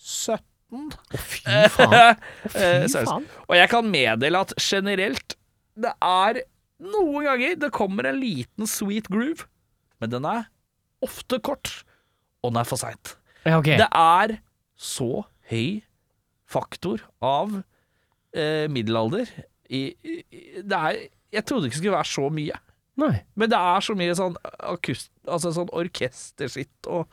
S1: 17.
S2: Fy faen.
S1: Eh, seriøst.
S2: faen.
S1: Og jeg kan meddele at generelt Det er noen ganger det kommer en liten sweet groove, men den er ofte kort, og den er for seint.
S2: Ja, ok.
S1: Det er så høy faktor av eh, middelalder i, i, i- Det er Jeg trodde ikke det skulle være så mye.
S2: Nei.
S1: Men det er så mye sånn akust... Altså sånn orkesterskitt og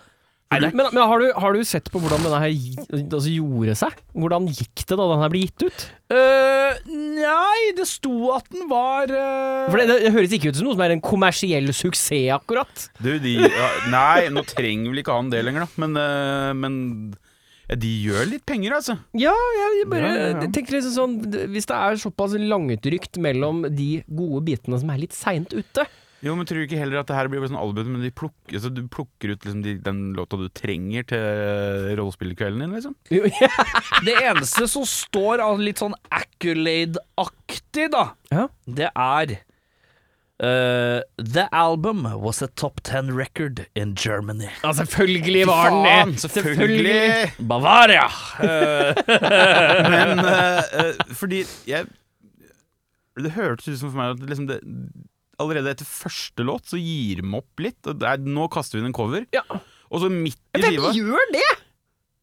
S2: Men, men har, du, har du sett på hvordan denne her gi- altså, gjorde seg? Hvordan gikk det da den her ble gitt ut?
S1: Øh, Nei, det sto at den var øh,
S2: For det, det høres ikke ut som noe som er en kommersiell suksess, akkurat.
S3: Du, de ja, Nei, nå trenger vel ikke han det lenger, da. Men, eh, men ja, de gjør litt penger, altså.
S2: Ja, jeg, jeg bare
S3: Ja, ja, ja.
S2: tenker liksom sånn d- Hvis det er såpass langutrykt mellom de gode bitene som er litt seint ute
S3: Jo, men tror du ikke heller at det her blir bare sånn album, men de plukker, altså, du plukker ut liksom de, den låta du trenger til eh, rollespillkvelden din, liksom?
S2: Jo, ja.
S1: Det eneste som står av litt sånn accolade-aktig, da,
S2: Ja.
S1: det er øh, The album was a top ten record in Germany.
S2: selvfølgelig
S3: Faen, selvfølgelig!
S1: Bavaria! Øh,
S3: Men eh, eh, fordi jeg Det hørtes ut som for meg at liksom det, allerede etter første låt så gir de opp litt. Og det er, nå kaster vi inn en cover.
S2: Ja.
S3: Og så midt i
S2: Hvem
S3: skiva
S2: gjør det?!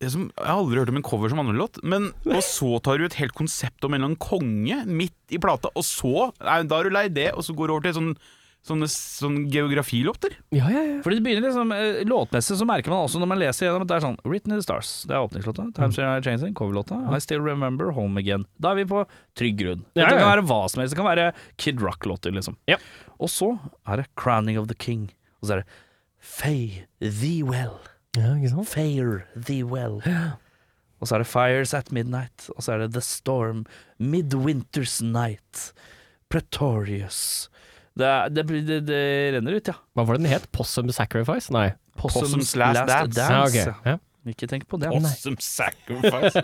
S3: jeg, som, jeg har aldri hørt om en cover som andrelåt. Men og så tar du et helt konsept om en eller annen konge midt i plata, og så nei, Da er du lei det, og så går du over til sånn, sånne, sånn geografilåter.
S2: Ja, ja, ja.
S1: Fordi det begynner liksom eh, Låtmessig så merker man også når man leser gjennom at det er sånn Written in the Stars, det er åpningslåta.
S2: Mm.
S1: Times Are Changing, coverlåta. I Still Remember, Home Again. Da er vi på trygg grunn. Det
S2: Ja, ja, ja.
S1: kan være hva som helst. Det kan være Kid Rock-låter, liksom.
S2: Ja.
S1: Og så er det Crowning of the King. Og så er det Fay thee well,
S2: ja ikke sant?
S1: fair thee well. Og så er det Fires at Midnight. Og så er det The Storm, Midwinter's Night, Pretorius. Det, er- det, blir- det, det renner ut, ja.
S2: Hva var det den het? Possum Sacrifice? Nei.
S1: Possums,
S3: Possums
S1: Last,
S3: Last
S1: Dance.
S3: Dance.
S2: Ja, ok.
S1: ja.
S2: ja.
S1: Ikke tenk på det.
S2: Nei.
S3: Awesome sacrifice.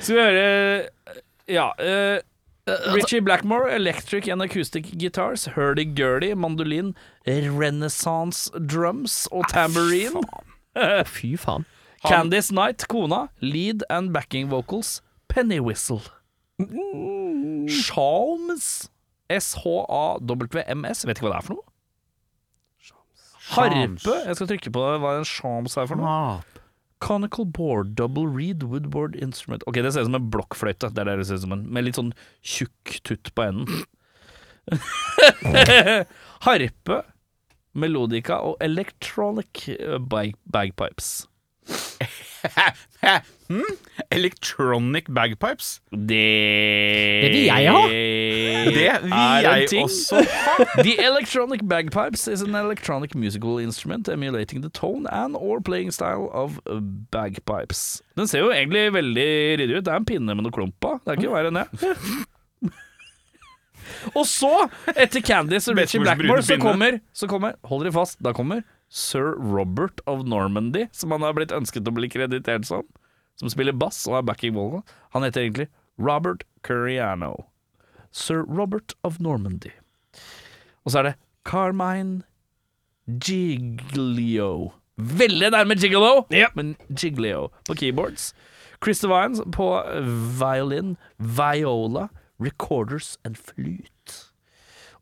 S1: Skal vi høre Ja. eh, Richie Blackmore, electric and acoustic guitars, hurdy-gurdy, mandolin, renaissance drums og tambourine.
S2: Eh, Fy faen.
S1: Candice Knight, kona, lead and backing vocals, penny whistle. Mm. Shalms, S-H-A-W-M-S, vet ikke hva det er for noe.
S3: Shams.
S1: Harpe, jeg skal trykke på hva en shams er for noe.
S3: Mat.
S1: Conical board, double reed, woodboard instrument Ok, det ser ut som en blokkfløyte. Det er det det ser ut som en, Med litt sånn tjukk tutt på enden. Harpe, melodica og electronic eh, bag bagpipes.
S3: Hm? Electronic bagpipes.
S1: Det
S2: Det vil jeg ha.
S1: Det
S3: Det vil jeg også
S1: The electronic bagpipes is an electronic musical instrument emulating the tone and or playing style of uh, bagpipes. Den ser jo egentlig veldig ryddig ut. Det er en pinne med noe klump på. Det er ikke verre enn det. Og så, etter Candice og Richie
S3: Bestemors
S1: Blackmore,
S3: brune
S1: så
S3: pinne.
S1: kommer, så kommer Hold dere fast, da kommer Sir Robert of Normandy, som han har blitt ønsket å bli kreditert som. Som spiller bass og er backing vocal. Han heter egentlig Robert Curiano. Sir Robert of Normandy. Og så er det Carmine Giglio. Veldig nærme Gigolo, men Giglio på keyboards. Christer Vines på violin, viola, recorders and flute.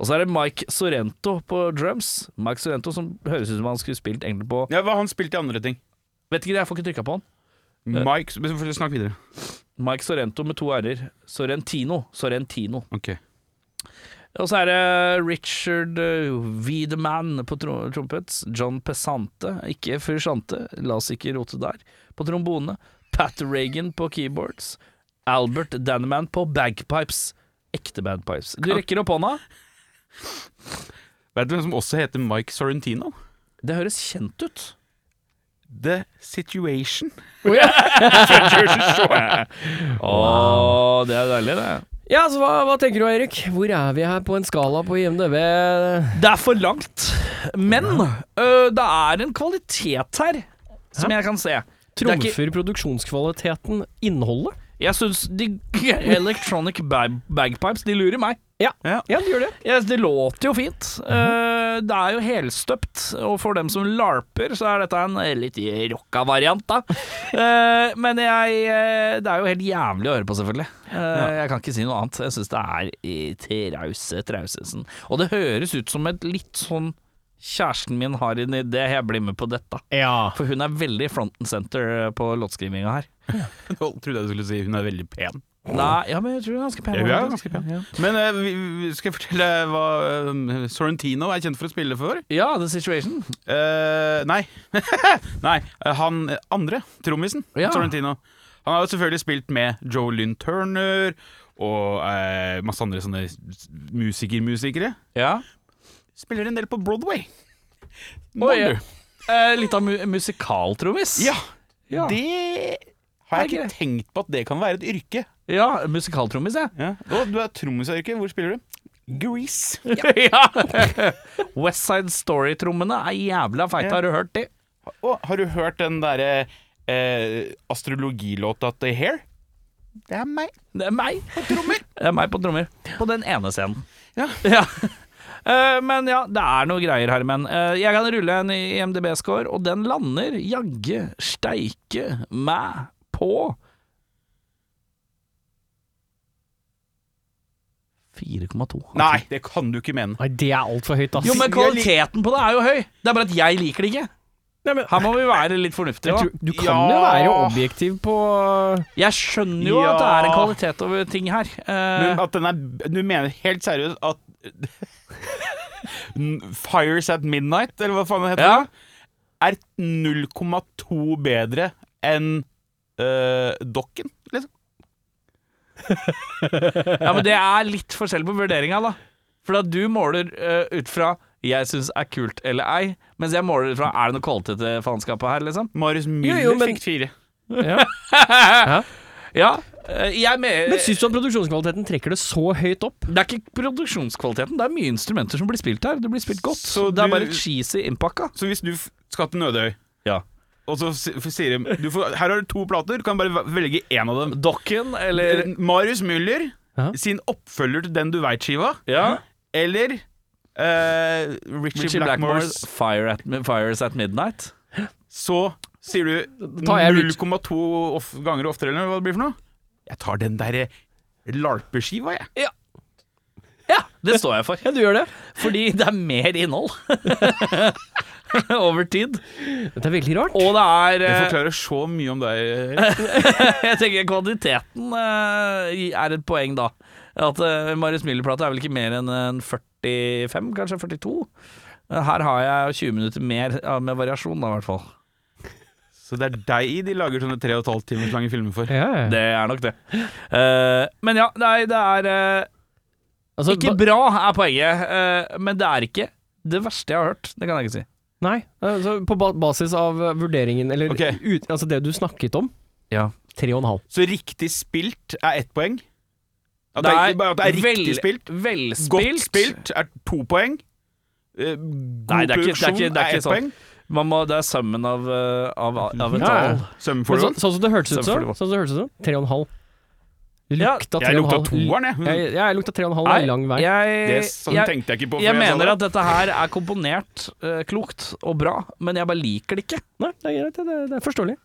S1: Og så er det Mike Sorrento på drums. Mike Sorrento som høres ut som han skulle spilt egentlig på
S3: Ja, hva har han spilt i andre ting?
S1: Vet ikke, jeg får ikke trykka på han.
S3: Mike, men så- Snakk videre.
S1: Mike Sorrento med to r-er. Sorrentino. Sorrentino.
S3: Ok
S1: Og så er det Richard eh, Wiedemann på tro trompet. John Pesante, ikke Fursante, la oss ikke rote der, på trombone. Pat Reagan på keyboards. Albert Danneman på bagpipes. Ekte bagpipes. Du rekker opp hånda.
S3: Vet du hvem som også heter Mike Sorrentino?
S1: Det høres kjent ut.
S3: The Situation.
S2: Oh,
S1: Å, det er deilig, det.
S2: Ja, så hva, hva tenker du Eirik? Hvor er vi her på en skala på IMDb?
S1: Det er for langt, men øh, det er en kvalitet her som jeg kan se. Det er ikke-
S2: Trumfer produksjonskvaliteten innholdet?
S1: Jeg syns de Electronic bag Bagpipes, de lurer meg.
S2: Ja, det gjør det.
S1: Yes, det låter jo fint.
S3: Mhm.
S1: Eh, det er jo helstøpt, og for dem som larper, så er dette en eh, litt rocka variant, da. Eh, men jeg eh, Det er jo helt jævlig å høre på, selvfølgelig. Eh, Jeg kan ikke si noe annet. Jeg syns det er i trause trausesen. Og det høres ut som et litt sånn Kjæresten min har en idé, jeg blir med på dette.
S2: Ja.
S1: For hun er veldig front and center eh, på låtskrivinga her.
S3: Jeg trodde jeg du skulle si hun er veldig pen.
S1: Nei, ja, men jeg tror hun er ganske pen.
S3: Ja, hun er
S1: faktisk.
S3: ganske pen. Men eh, vi, vi- skal jeg fortelle hva eh, Sorrentino er kjent for å spille for?
S1: Ja, The Situation.
S3: Eh, nei. nei. eh, Han andre, trommisen,
S1: Ja.
S3: Sorrentino, han har jo selvfølgelig spilt med Joe Lynn Turner og eh, masse andre sånne musikermusikere.
S1: Ja.
S3: Spiller en del på Broadway.
S1: Oi,
S3: Mann, du.
S1: eh, litt av mu musikaltrommis.
S3: Ja,
S1: Ja.
S3: det har jeg
S1: Er
S3: ikke tenkt på at det kan være et yrke.
S1: ja musikaltrommis, jeg.
S3: Ja. Og du er trommis av yrke. Hvor spiller du? Grease.
S1: Ja. West Side Story-trommene er jævla feite,
S3: Ja.
S1: har du hørt de?
S3: Og har du hørt den derre eh, astrologilåta til Hair? Det er meg.
S1: Det er meg.
S3: På trommer.
S1: Det er meg på trommer. På den ene scenen.
S3: Ja.
S1: Eh, men ja, det er noe greier her, men eh, jeg kan rulle en IMDb-score, og den lander jagge steike meg på 4,2.
S3: Nei, det kan du ikke mene.
S2: Nei, det er altfor høyt, ass.
S1: Jo, men
S3: Jeg lik-
S1: kvaliteten på det er jo høy. Det er bare at jeg liker det ikke.
S2: Nei, men-
S1: Her må vi være litt fornuftige.
S2: Jeg
S1: da.
S2: tror, du kan
S3: Ja.
S2: jo være objektiv på
S1: Jeg skjønner jo
S3: Ja.
S1: at det er en kvalitet over ting her. Eh,
S3: Men at den er Du mener helt seriøst at Fires at Midnight, eller hva faen det heter,
S1: ja.
S3: er 0,2 bedre enn eh, Dokken, liksom?
S1: ja, men det er litt forskjell på vurderinga, da. For at du måler eh, ut fra 'jeg syns er kult' eller ei, mens jeg måler ut fra 'er det noe kvalitet til faenskapet her', liksom.
S3: Marius Müller
S2: jo, men-
S3: fikk fire.
S2: ja.
S1: Ja, eh, jeg mener
S2: Men syns du at produksjonskvaliteten trekker det så høyt opp?
S1: Det er ikke produksjonskvaliteten, det er mye instrumenter som blir spilt her. Det blir spilt godt.
S3: Så
S1: det er
S3: du-
S1: bare cheesy innpakka.
S3: Så hvis du f- skal til Nødøy
S1: Ja.
S3: og så si- f- sier de du får, Her har du to plater, du kan bare velge én av dem. Eh,
S1: Dokken eller
S3: Marius Müller
S2: Ja.
S3: sin oppfølger til Den du veit-skiva,
S1: Ja.
S3: eller eh, Richie,
S1: Richie
S3: Blackmores
S1: Blackmores Fire at, Fires at Midnight.
S3: Så sier du
S2: tar jeg
S3: 0,2 off- ganger oftere, eller hva det blir for noe? Jeg tar den derre larpeskiva, jeg.
S1: Ja, det står jeg for.
S2: Ja, du gjør det.
S1: Fordi det er mer innhold. Over tid.
S2: Dette er veldig rart.
S1: Og det er
S3: Det
S1: eh,
S3: forklarer så mye om deg. eh, Erik.
S1: Jeg tenker kvantiteten eh, er et poeng, da. At eh, Marius Müller-plata er vel ikke mer enn en 45, kanskje 42? Eh, Her har jeg 20 minutter mer ja, med variasjon, da, i hvert fall.
S3: Så det er deg de lager sånne tre og et halvt timers lange filmer for.
S2: Ja, ja.
S1: Det er nok det. Eh, men ja, nei, det er eh,
S2: Altså,
S1: Ikke
S2: ba-
S1: bra er poenget, eh, men det er ikke det verste jeg har hørt. Det kan jeg ikke si.
S2: Nei. Altså, på ba basis av eh, vurderingen, eller
S3: Ok.
S2: ut, altså det du snakket om,
S1: Ja.
S2: tre og en halv.
S3: Så riktig spilt er ett poeng. At det, er, bare at det er riktig
S1: vel-
S3: spilt.
S1: Velspilt.
S3: Godt spilt er to poeng. Eh, God
S1: Nei, det er ikke- det er
S3: produksjon
S1: ikke- det er ikke
S3: ett
S1: sånn. Man må, det er summen av, eh, av, av et
S2: Ja, ja.
S1: tall.
S3: poeng. Sømmen
S2: Men
S3: for
S2: så,
S3: det.
S2: sånn som det hørtes
S1: Stemmer
S2: ut
S1: for
S2: som,
S1: det var-
S2: sånn som det hørtes ut som, tre og en halv.
S1: Ja,
S2: Lukta tre
S3: Jeg
S2: og en
S3: lukta
S2: halv.
S3: toeren, jeg.
S2: Jeg, jeg lukta tre og en halv
S1: Nei,
S2: en lang vei.
S1: Jeg,
S3: Det sånn
S1: jeg,
S3: tenkte jeg ikke på.
S1: jeg mener at dette her er komponert eh, klokt og bra, men jeg bare liker det ikke.
S2: Nei, det er greit, det, det er forståelig.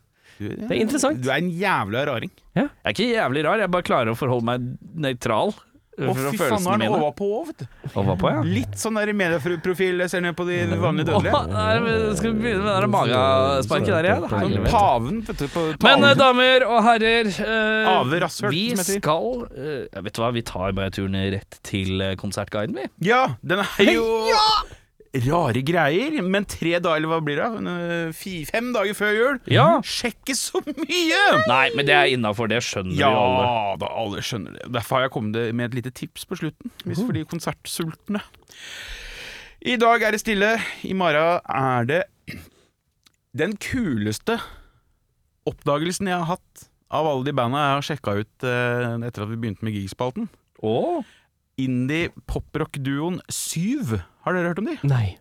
S3: det
S2: Det er interessant.
S3: Du er en jævla raring.
S1: Jeg er ikke jævlig rar, jeg bare klarer å forholde meg nøytral. eh,
S3: Å,
S1: Fra
S3: fy faen, nå er
S1: følelsene
S3: han
S1: mine.
S3: overpå òg, vet du.
S1: Overpå, ja.
S3: Litt sånn der medieprofil jeg ser ned på de vanlige
S1: Åh,
S3: dødelige.
S1: nei, men skal vi begynne med det der magesparket der igjen? da?
S3: Sånn
S2: Helvete.
S3: paven, vet du. På
S1: Men eh,
S3: talen.
S1: damer og herrer eh,
S3: Ave Rasshøl,
S1: Vi
S3: som heter.
S1: skal eh, ja, Vet du hva, vi tar bare turen rett til eh, konsertguiden, vi.
S3: Ja, den er jo Rare greier, men tre dager, eller hva blir det? Eh, fi- Fem dager før jul?
S1: Ja.
S3: Sjekke så mye!
S1: Nei, men det er innafor, det skjønner
S3: Ja
S1: vi alle.
S3: da, alle skjønner det. Derfor har jeg kommet det med et lite tips på slutten, hvis
S1: Uh.
S3: for de konsertsultne. I dag er det stille, i morgen er det Den kuleste oppdagelsen jeg har hatt av alle de banda jeg har sjekka ut eh, etter at vi begynte med gigspalten
S1: Åh,
S3: Indie poprock-duoen Syv. Har dere hørt om de?
S2: Nei.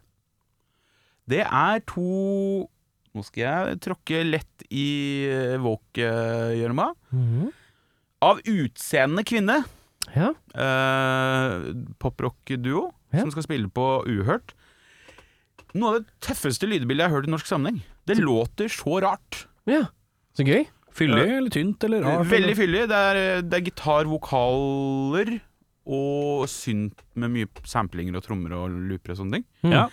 S3: Det er to Nå skal jeg tråkke lett i eh, våk-gjørma.
S2: Mhm.
S3: Av utseende kvinne.
S2: Ja.
S3: eh, poprock-duo
S2: Ja.
S3: som skal spille på Uhørt. Noe av det tøffeste lydbildet jeg har hørt i norsk sammenheng. Det låter så rart.
S2: ja. Så gøy.
S1: Fyldig eller tynt eller rart?
S3: Veldig fyldig. Det er, det er gitar, vokaler og synt med mye samplinger og trommer og looper og sånne ting.
S2: Mm.
S1: Ja.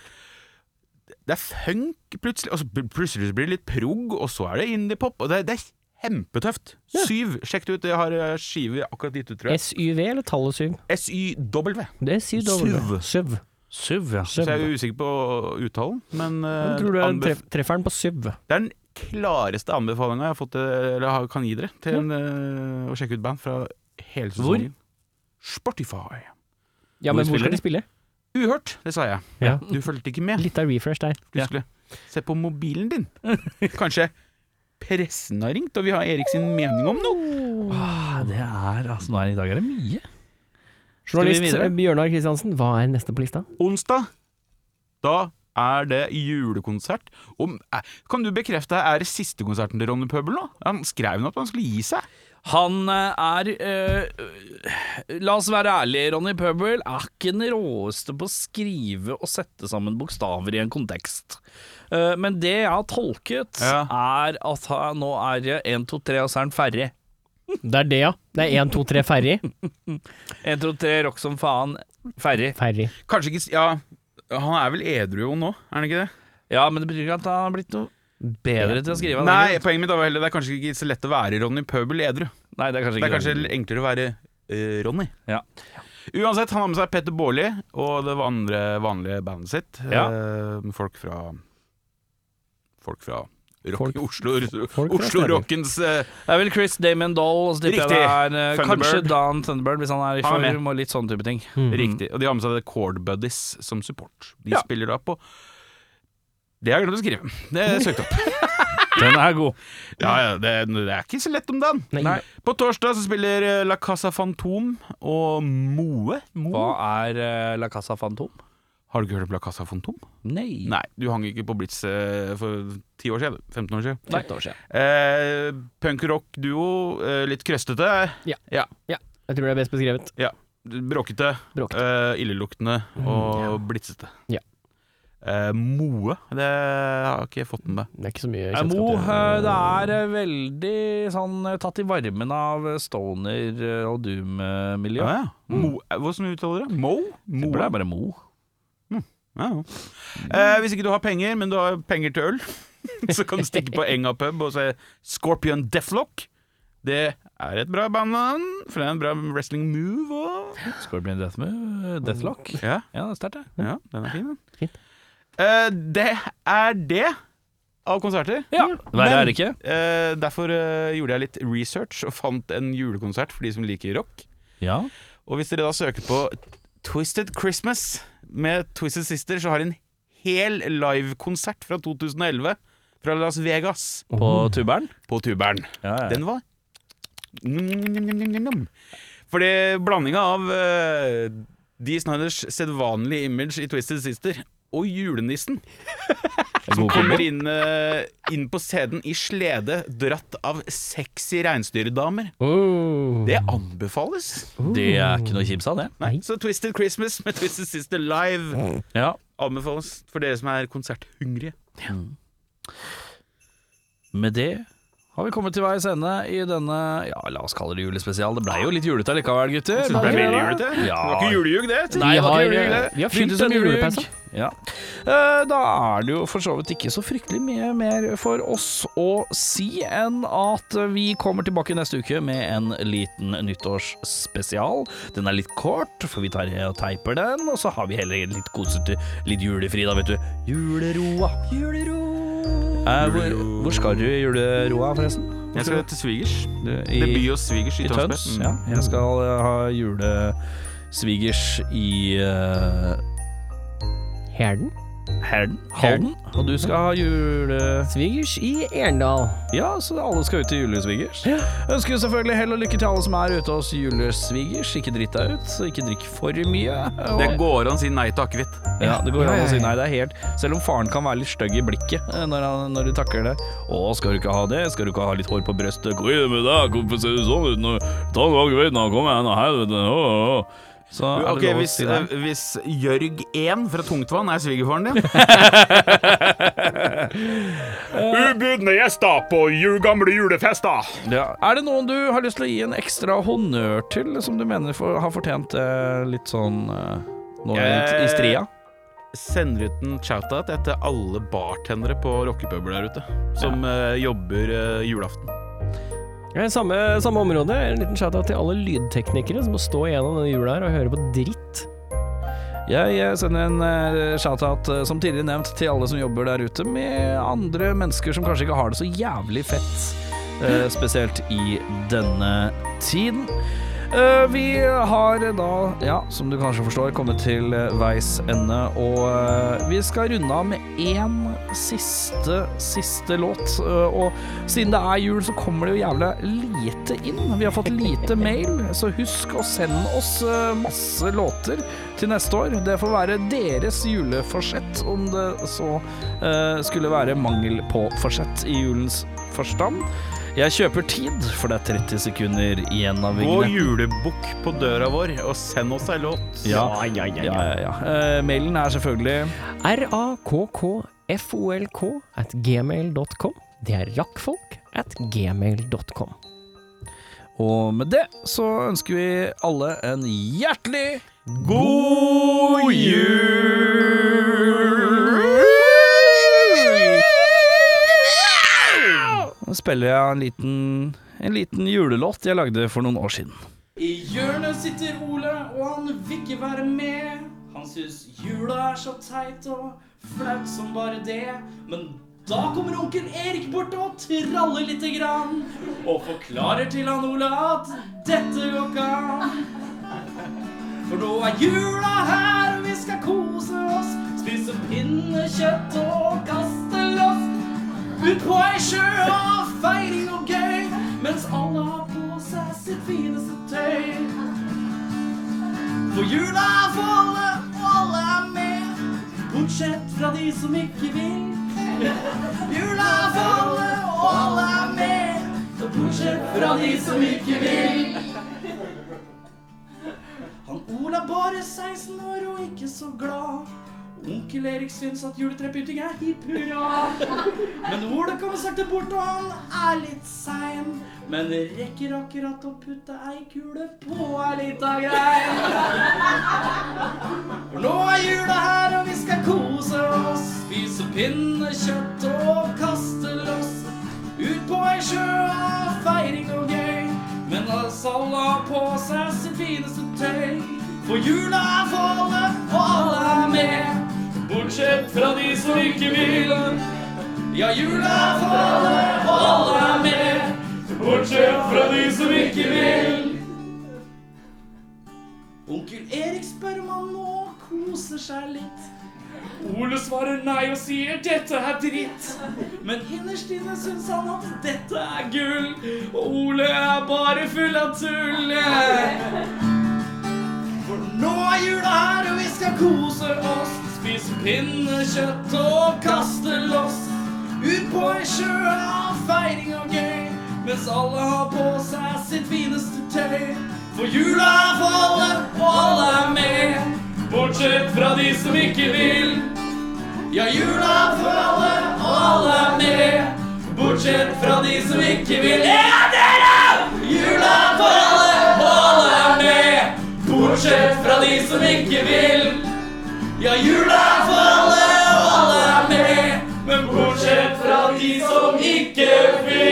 S3: Det er funk plutselig, og så pl- plutselig så blir det litt prog, og så er det indiepop. Og det, det er kjempetøft.
S2: Ja.
S3: Syv. Sjekk det ut. Jeg har eh, skive akkurat gitt ut, tror jeg.
S2: SYV eller tallet syv?
S3: SYW.
S2: Det er syv.
S3: Syv.
S2: Syv.
S1: Syv, ja.
S3: Så jeg er usikker på uttalen, men eh,
S2: Jeg tror du er
S3: anbef-
S2: treff, treffer den på syv.
S3: Det er den klareste anbefalinga jeg har fått, eh, eller har- kan gi dere, til en, eh, å sjekke ut band fra hele sesongen. Spotify.
S2: Ja,
S3: Hvor
S2: men hvor
S3: spiller
S2: skal de spille?
S3: Uhørt, det sa jeg.
S2: Ja.
S3: Du fulgte ikke med.
S2: Litt av refresh der.
S3: Du skulle se på mobilen din. Kanskje pressen har ringt, og vi har Erik sin mening om noe.
S1: Ah, det er altså, nei, I dag er det mye. Skal vi
S2: Journalist eh,
S1: videre?
S2: Bjørnar Kristiansen, hva er neste på lista?
S3: Onsdag, da er det julekonsert. Og, eh, kan du bekrefte, er det siste konserten til Ronny Pøbel nå? Han skrev nå at han skulle gi seg.
S1: Han eh, er eh, La oss være ærlige, Ronny Pøbel er ikke den råeste på å skrive og sette sammen bokstaver i en kontekst. Eh, men det jeg har tolket,
S3: Ja.
S1: er at han, nå er det 1, 2, 3, og så er han ferdig.
S2: Det er det, ja. Det er én, to, tre, ferdig.
S1: 1, 2, 3, rock som faen. Ferdig.
S2: Ferdig.
S3: Kanskje ikke s- Ja, han er vel edru jo nå, er han ikke det?
S1: Ja, men det betyr ikke at han har blitt noe bedre til å skrive. han er
S3: Nei,
S1: ikke-
S3: poenget mitt er heller det er kanskje ikke så lett å være Ronny Pøbel edru.
S1: Nei det er kanskje
S3: Det er
S1: ikke
S3: kanskje enklere å være eh, Ronny.
S1: Ja.
S3: Uansett, han har med seg Petter Baarli og det andre vanlige bandet sitt.
S1: Ja.
S3: Eh, med folk fra Folk fra rock,
S2: Folk-
S3: Oslo,
S2: folk fra
S3: Oslo
S2: steder.
S3: Rockens eh,
S1: Det er vel Chris Damon Doll, og så tipper jeg det
S3: Riktig.
S1: er eh, kanskje
S3: Thunderbird.
S1: Dan Thunderbird, hvis han er i
S3: Han er
S1: form, og litt sånn type ting.
S3: Riktig. Og de har med seg The Chord Buddies som support. De
S1: Ja.
S3: spiller da på Det har jeg glemt å skrive. Det er søkt opp.
S1: Den er god.
S3: ja, ja, det, det er ikke så lett om dagen.
S2: Nei.
S3: På torsdag så spiller eh, La Casa Fantom og Moe. Moe.
S1: Hva er eh, La Casa Fantom?
S3: Har du ikke hørt om La Casa Fantom?
S1: Nei.
S3: Nei, du hang ikke på Blitz eh, for 10 år siden. du. 15 år siden.
S1: Nei. År siden.
S3: Eh, Punk-rock-duo, eh, litt krøstete,
S2: Jeg tror det er best beskrevet.
S3: bråkete,
S2: Bråkete.
S3: eh, illeluktende og blitzete.
S2: Ja.
S3: Eh, Moe, det har ikke jeg fått med meg.
S2: Det er ikke så mye
S1: Eh, Mo, eh, det er eh, veldig sånn eh, tatt i varmen av eh, stoner eh,
S3: Ja.
S1: og doom-miljø.
S3: Ja, Mo, eh, Hvordan uttaler du det? Mo?
S1: Det
S3: Moe?
S1: ble bare Mo.
S3: Ja, ja. Eh, hvis ikke du har penger, men du har penger til øl, så kan du stikke på Enga pub og se Scorpion Deathlock. Det er et bra band, navn, for det er en bra wrestling move. Og...
S1: Scorpion Death Move, Deathlock.
S3: Ja,
S1: Ja, det er sterkt, det.
S3: ja, den er fin, den.
S2: Fint.
S3: Eh, det er det av konserter.
S1: Ja, verre
S3: Men-
S1: er det ikke.
S3: Eh, derfor eh, gjorde jeg litt research og fant en julekonsert for de som liker rock.
S1: Ja.
S3: Og hvis dere da søker på Twisted Christmas med Twisted Sister, så har de en hel livekonsert fra 2011 fra Las Vegas
S1: På tuberen.
S3: på tuberen.
S1: Oh. Ja, ja.
S3: Den var Nom-nom-nom-nom-nom. Fordi blandinga av eh, Dee Snyders sedvanlige image i Twisted Sister og julenissen som kommer inn, eh, inn på scenen i slede dratt av sexy reinsdyrdamer.
S2: Oh.
S3: Det anbefales.
S1: Det er ikke noe kjips av det.
S3: Mm. Nei. Så Twisted Christmas med Twisted Sister live
S1: Ja.
S3: anbefales for dere som er konserthungrige.
S1: Mm. Med det har vi kommet til veis ende i denne, ja, la oss kalle det julespesial. Det blei jo litt julete likevel, gutter.
S3: Det ble
S1: Men-
S3: veldig julete. Det var ikke julejug, det.
S1: Nei,
S2: Vi
S1: det var
S2: har,
S1: ikke julejul,
S2: eh,
S1: det.
S2: vi har
S1: Begynte
S2: fylt
S1: som
S2: en
S1: julejug.
S2: julepause.
S1: Ja. Eh, Da er det jo for så vidt ikke så fryktelig mye mer for oss å si enn at vi kommer tilbake neste uke med en liten nyttårsspesial. Den er litt kort, for vi tar og teiper den, og så har vi heller litt kosete, litt julefri, da, vet du. Juleroa. Julero. Eh, hvor, hvor skal du i juleroa, forresten? Hvor
S3: Jeg skal til svigers.
S1: du
S3: Det
S1: i-
S3: blir jo svigers i
S1: i
S3: Tønsberg.
S1: Tøns.
S3: Mm.
S1: Ja, jeg skal eh, ha julesvigers i eh,
S2: Herden?
S1: Herden. Halden. Og du skal ha jule...
S2: Svigers i Erndal.
S1: Ja, så alle skal ut til julesvigers.
S2: Ja.
S1: Ønsker selvfølgelig hell og lykke til alle som er ute hos julesvigers. Ikke dritt deg ut, så ikke drikk for mye. Og-
S3: Det går an å si nei til akevitt.
S1: Ja, det går
S2: Ja,
S1: an
S2: ja,
S1: å si
S2: ja.
S1: nei, det er helt Selv om faren kan være litt stygg i blikket eh, når, han, når du takler det. 'Å, skal du ikke ha det? Skal du ikke ha litt hår på brøstet?' 'Hva er det med deg? Hvorfor ser du sånn ut nå? Ta en gang veit, nå kommer jeg nå helvete Å, å, å.» Så er det
S3: Ok,
S1: lov å
S3: hvis,
S1: si nei.
S3: eh, hvis Jørg 1 fra Tungtvann er svigerfaren din Ubudne gjester på gamle julefester!
S1: ja. Er det noen du har lyst til å gi en ekstra honnør til, som du mener for, har fortjent eh, litt sånn eh, nå i- i stria?
S3: Sender ut en shout-out etter alle bartendere på rockepuber der ute som eh, jobber eh, julaften.
S2: Ja, samme, Eh, samme område. En liten shout-out til alle lydteknikere som må stå igjennom denne jula her og høre på dritt.
S1: Jeg eh, sender en eh, shout-out, eh, som tidligere nevnt, til alle som jobber der ute med andre mennesker som kanskje ikke har det så jævlig fett. eh, Spesielt i denne tiden. Eh, Vi har da, ja, som du kanskje forstår, kommet til eh, veis ende. Og eh, vi skal runde av med én siste, siste låt. Eh, Og siden det er jul, så kommer det jo jævla lite inn. Vi har fått lite mail, så husk å sende oss eh, masse låter til neste år. Det får være deres juleforsett, om det så eh, skulle være mangel på forsett i julens forstand. Jeg kjøper tid, for det er 30 sekunder igjen av
S3: Gå
S1: vignetten.
S3: julebukk på døra vår og send oss ei låt.
S1: Ja.
S2: ja,
S1: Ja, ja, ja. Eh, mailen er selvfølgelig
S2: rakkfolk at gmail.com. Det er rakkfolk at gmail.com.
S1: Og med det så ønsker vi alle en hjertelig
S3: God jul!
S1: Nå spiller jeg en liten, en liten julelåt jeg lagde for noen år siden.
S4: I hjørnet sitter Ole, og han vil ikke være med. Han syns jula er så teit og flaut som bare det. Men da kommer onkel Erik bort og traller lite grann. Og forklarer til han Ole at dette går ikke an. For nå er jula her, og vi skal kose oss. Spise pinnekjøtt og kaste loff. Ut på ei sjø av feiring og gøy, mens alle har på seg sitt fineste tøy. For jula er for alle, og alle er med, bortsett fra de som ikke vil. Jula er for alle, og alle er med, og bortsett fra de som ikke vil. Han Ola er bare 16 år og ikke så glad. Onkel Erik syns at juletrepyting er hipp hurra. Men Ola kommer sakte bort, og han er litt sein. Men rekker akkurat å putte ei kule på ei lita grein. For nå er jula her, og vi skal kose oss. Spise pinnekjøtt og kaste loss. Ut på ei sjø av feiring og gøy. Men oss alle har på seg sitt fineste tøy. For jula er for alle, og alle er med. Bortsett fra de som ikke vil. Ja, jula er for alle, og alle er med. Bortsett fra de som ikke vil. Onkel Erik spør om han nå koser seg litt. Ole svarer nei og sier 'dette er dritt'. Men innerst inne syns han at dette er gull. Og Ole er bare full av tull. For nå er jula her, og vi skal kose oss. Spise pinnekjøtt og kaste loss. Ut på ei sjø av feiring og gøy. Mens alle har på seg sitt fineste tøy. For jula er for alle, og alle er med. Bortsett fra de som ikke vil. Ja, jula er for alle, og alle er med. Bortsett fra de som ikke vil. Ja, dere! Jula er for alle, og alle er med. Bortsett fra de som ikke vil. Ja, jula er for alle, og alle er med. Men bortsett fra de som ikke vil.